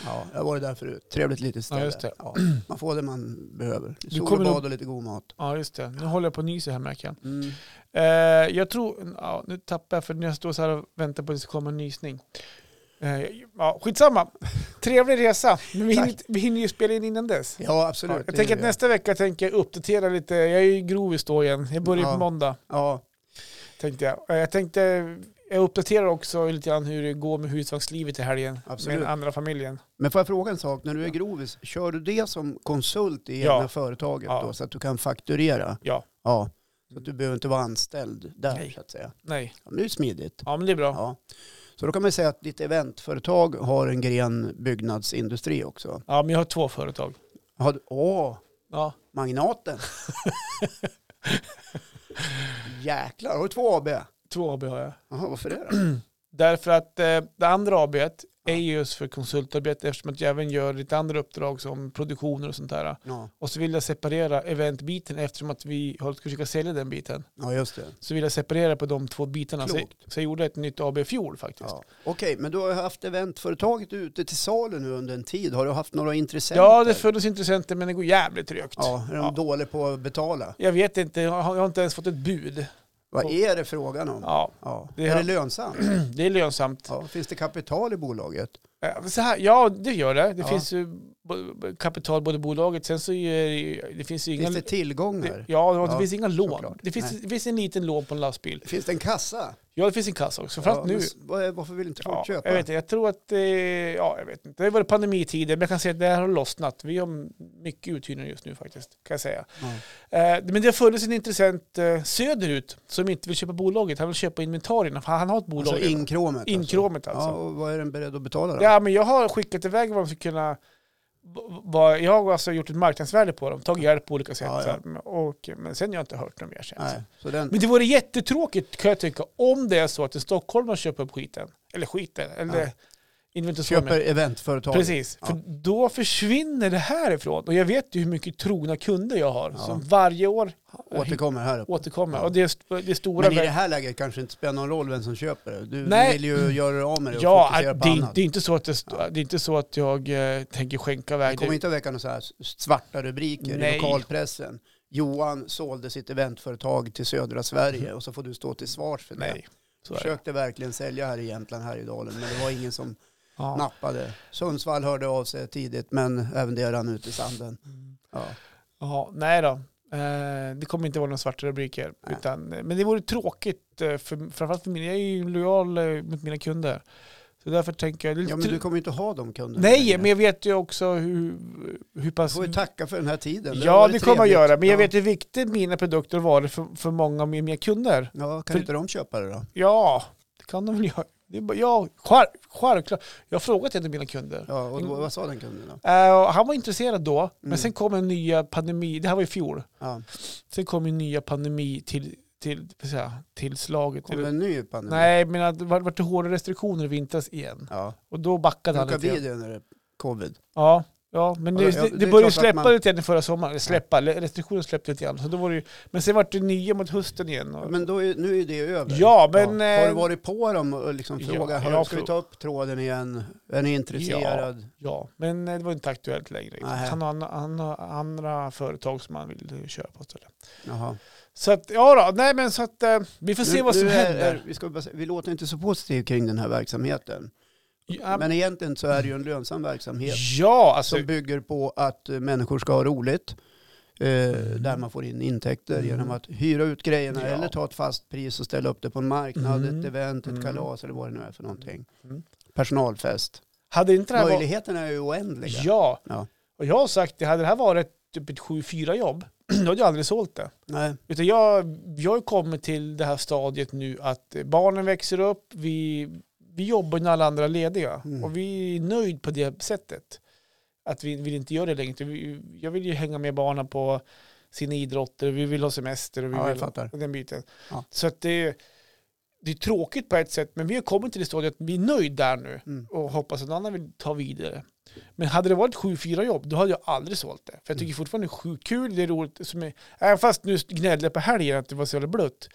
Ja, jag var där förut. Trevligt litet ställe.
Ja, just det.
Ja, man får det man behöver. Sol och
kommer nog-
bad och lite god mat.
Ja, just det. Nu håller jag på att nysa här märker jag.
Mm.
Eh, jag tror, ja, nu tappar jag för när jag står så här och väntar på att det ska komma en nysning. Eh, ja, skitsamma. Trevlig resa. Men vi, hinner,
Tack.
inte- vi hinner ju spela in innan dess.
Ja, absolut.
jag
Det
tänker
gör
att nästa vecka tänker jag uppdatera lite. Jag är ju grovis då igen. Jag börjar
Ja.
på måndag
Ja,
tänkte jag. Eh, Jag tänkte, jag uppdaterar också lite grann hur det går med husvagnslivet i helgen.
Absolut.
Med den andra familjen.
men får jag fråga en sak? När du är grovis, kör du det som konsult i
Ja.
egna företaget
Ja.
då? Så att du kan fakturera?
Ja.
Ja. Så att du behöver inte vara anställd där
Nej.
så att säga.
Nej,
Ja, men det är ju smidigt.
ja men det är bra.
Ja. Så då kan man säga att ditt eventföretag har en gren byggnadsindustri också.
Ja, men jag har två företag.
Har du- Åh,
Ja,
Magnaten.
<laughs>
Jäklar, har du två AB? Jaha,
två AB har jag.
varför det då?
Därför att eh, det andra AB är ju just för konsultarbete eftersom att jag även gör lite andra uppdrag som produktioner och sånt där.
Ja,
Och så vill jag separera eventbiten eftersom att vi håller på att försöka sälja den biten.
ja just det.
Så vill jag separera på de två bitarna. Så,
Klokt.
så jag gjorde ett nytt AB i fjol faktiskt.
Ja. Okej, men du har haft eventföretaget ute till salen nu under en tid. Har du haft några intressenter?
Ja, det föddes intressenter men det går jävligt trögt.
Ja, är de
Ja.
dåliga på att betala?
Jag vet inte, jag har jag har inte ens fått ett bud.
Vad är det frågan om? Ja.
Ja, <clears throat> Det
Är
har-
det lönsamt?
det är lönsamt.
Ja. Finns det kapital i bolaget?
Eh, Så här, ja, det gör det. Det
Ja.
finns ju bo- kapital, både bolaget, sen så är det ju- det finns ju inga...
Finns det tillgångar?
det, ja, det
Ja,
finns inga lån.
såklart.
Det finns,
Nej.
det finns en liten lån på en lastbil.
Finns det en kassa?
Ja, det finns en kassa också. Framförallt nu.
Ja, men s- vad är- varför vill inte folk
Ja, jag
köpa?
vet inte, jag tror att, eh, ja jag vet inte, det har varit pandemitider, men jag kan säga att det här har lossnat. Vi har mycket uthyrning just nu faktiskt, kan jag säga.
Ja.
Eh, Men det har funnits en intressent eh, söderut som inte vill köpa bolaget, han vill köpa inventarierna, för han har ett bolag.
Alltså
redan.
inkråmet? alltså.
Inkråmet alltså.
Ja, och vad är den beredd att betala då?
Ja, men jag har skickat iväg vad de skulle kunna... v- vad- Jag har alltså gjort ett marknadsvärde på dem, tagit hjälp på olika sätt.
Ja, ja.
så här. Och, men sen har jag inte hört något mer. Sen.
Nej, så den,
Men det vore jättetråkigt kan jag tycka om det är så att en stockholmare köper upp skiten. Eller skiten, eller
Ja.
inventarier.
köper eventföretaget?
Precis,
Ja.
för då försvinner det härifrån. Och jag vet ju hur mycket trogna kunder jag har
Ja.
som varje år
Återkommer här uppe.
återkommer.
Ja.
Och det är, st- det är stora...
Men i det här läget kanske inte spelar någon roll vem som köper det. Du
Nej.
vill ju göra dig av med det och
ja,
fokusera
att
på
det, är-
annat.
det, är inte så att det, st- det är inte så att jag eh, tänker skänka
Det
iväg
kommer inte att väcka några så här svarta rubriker
Nej.
i lokalpressen. Johan sålde sitt eventföretag till södra Sverige och så får du stå till svars för
Nej, så
det.
är det.
Försökte verkligen sälja här i Jämtland, Härjedalen, men det var ingen som
Ja.
nappade. Sundsvall hörde av sig tidigt, men även det rann ut i sanden. Ja.
Ja, nej då. Eh, Det kommer inte vara några svarta rubriker.
Nej.
Utan, eh, men det vore tråkigt, eh, för, framförallt för mig. Jag är ju lojal eh, mot mina kunder. Så därför tänker jag... det är lite
ja, men
tr-
du kommer ju inte ha de kunderna
Nej,
längre.
men jag vet ju också hur, hur
Du
pass...
får ju tacka för den här tiden. har
Ja,
varit
det kommer jag
trevligt.
göra. Men jag
Ja.
vet hur viktigt mina produkter har varit för, för många av mina kunder.
Ja, kan
För-
inte de köpa det då?
Ja, det kan de väl göra. Det är bara- Ja, själv- självklart. Jag har frågat en av mina kunder.
Ja, och då, vad sa den kunden då?
Eh, och han var intresserad då, men
Mm.
sen kom en nya pandemi. Det här var i fjol.
Ja,
Sen kom ju nya pandemi till, till, vad ska jag säga, tillslaget.
kommer
Eller-
en ny pandemi?
Nej, men att det var- vart det hårda restriktioner i vintras igen.
Ja.
Och då backade han
Brukar
lite.
bli
grann.
det när det är covid?
Ja, ja, men
Ja,
det,
ja,
det,
det
det började
är klart att
släppa
man-
lite grann i förra sommaren. Eller Släppa, le- restriktioner släppte lite grann. Så då var det ju, men sen vart det nya mot hösten igen. Och,
Men då är, nu är det över.
ja, men...
Har du
eh,
varit på dem och liksom
Ja,
frågat,
jag
ja, ska
frå-
vi ta upp tråden igen? Är ni intresserad?
Ja, men eh, det var inte aktuellt längre.
Nej.
Han har, an- han har andra företag som han vill eh, köpa. och sådär.
Jaha.
Så att, ja då, nej men så att eh, vi får se
Nu-
vad som
nu är-
händer.
är- Vi, ska bara, säga- vi låter inte så positiva kring den här verksamheten.
ja,
Men egentligen så är det ju en lönsam verksamhet
ja, alltså
som bygger på att eh, människor ska ha roligt. eh, Där man får in intäkter
Mm.
genom att hyra ut grejerna
Ja.
eller ta ett fast pris och ställa upp det på en marknad,
Mm.
ett event, ett
Mm.
kalas eller vad det nu är för någonting.
Mm.
Personalfest.
hade inte det här varit...
Möjligheterna är ju oändliga.
Ja.
Ja.
och jag har sagt det, hade det här varit typ ett 7-4 jobb, <clears throat> då hade jag aldrig sålt det.
Nej.
Utan jag, jag har ju kommit till det här stadiet nu att barnen växer upp, vi, vi jobbar när alla andra är lediga
Mm.
och vi är nöjd på det sättet. Att vi vill inte göra det längre. Vi- Jag vill ju hänga med barnen på sina idrotter, vi vill ha semester och vi
Ja, jag
vill
fattar.
den biten.
Ja.
Så att det, det är tråkigt på ett sätt, men vi har kommit till det stadiet att vi är nöjda där nu
Mm.
och hoppas att någon annan vill ta vidare. Men hade det varit 7-4 jobb, då hade jag aldrig sålt det. För jag tycker fortfarande det är sjukt kul, det är roligt. Som är, även fast nu gnällde jag på helgen att det var så jävla blött.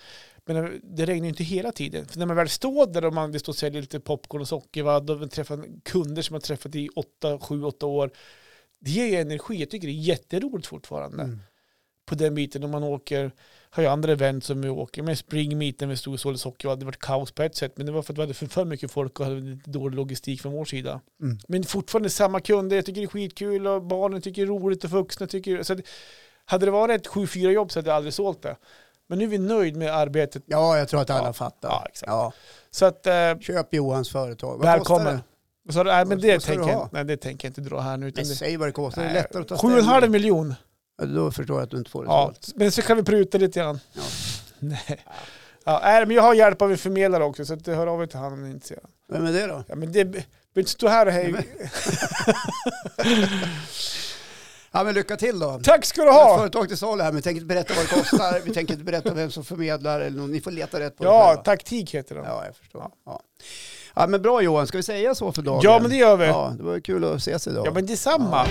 Men det regnar ju inte hela tiden. För när man väl står där och man vill stå och sälja lite popcorn och sockervadd och träffa kunder som man träffat i 8, 7, 8 år. Det ger ju energi. Jag tycker det är jätteroligt fortfarande
Mm.
på den biten när man åker, har ju andra event som vi åker med springmeeten vi stod och sålde socker och hade varit kaos på ett sätt men det var för att vi hade för, för mycket folk och hade lite dålig logistik från vår sida.
Mm.
Men fortfarande samma kunder, jag tycker det är skitkul och barnen tycker det är roligt och vuxna tycker så att, Hade det varit ett 7-4 jobb så hade jag aldrig sålt det. Men nu är vi nöjd med arbetet.
Ja, jag tror att alla
Ja.
fattar.
Ja, exakt.
Ja.
Så att, eh,
Köp Johans företag. Vad kostar
välkommen.
det?
Så, nej, men
Vad
det
ska du
tänker, jag,
ha?
nej, det tänker jag inte dra här nu. Utan
Men
det,
säg vad det kostar. Det är
Nej,
lättare att ta
7,5
ställning.
miljon.
Ja, Då förstår jag att du inte får det
Ja,
sålt.
men så kan vi pruta lite grann.
Ja.
<laughs> Nej. Ja, nej, men jag har hjälp av en förmedlare också, så att hör av er till han om ni är intresserad.
Vem är det då?
Ja, men det behöver inte stå här och
Ja,
hej.
Ja, men lycka till då.
Tack ska du
Vi har ett
ha!
företag till salu här, men vi tänker inte berätta vad det kostar. vi tänker inte berätta vem som förmedlar. Eller någon. Ni får leta rätt på det
Ja,
själva.
taktik heter den.
Ja, jag förstår. Ja. ja, men bra Johan. Ska vi säga så för dagen?
Ja, men det gör vi.
Ja, det var kul att ses idag.
Ja, men detsamma.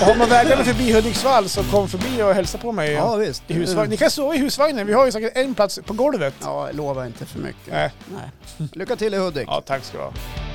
Och har man vägarna förbi Hudiksvall så kom förbi och hälsa på mig
ja visst.
i husvagnen. Ni kan sova i husvagnen, vi har ju säkert en plats på golvet.
Ja, lova inte för mycket.
Nej.
Nej. Lycka till i Hudik.
Ja, tack ska du ha.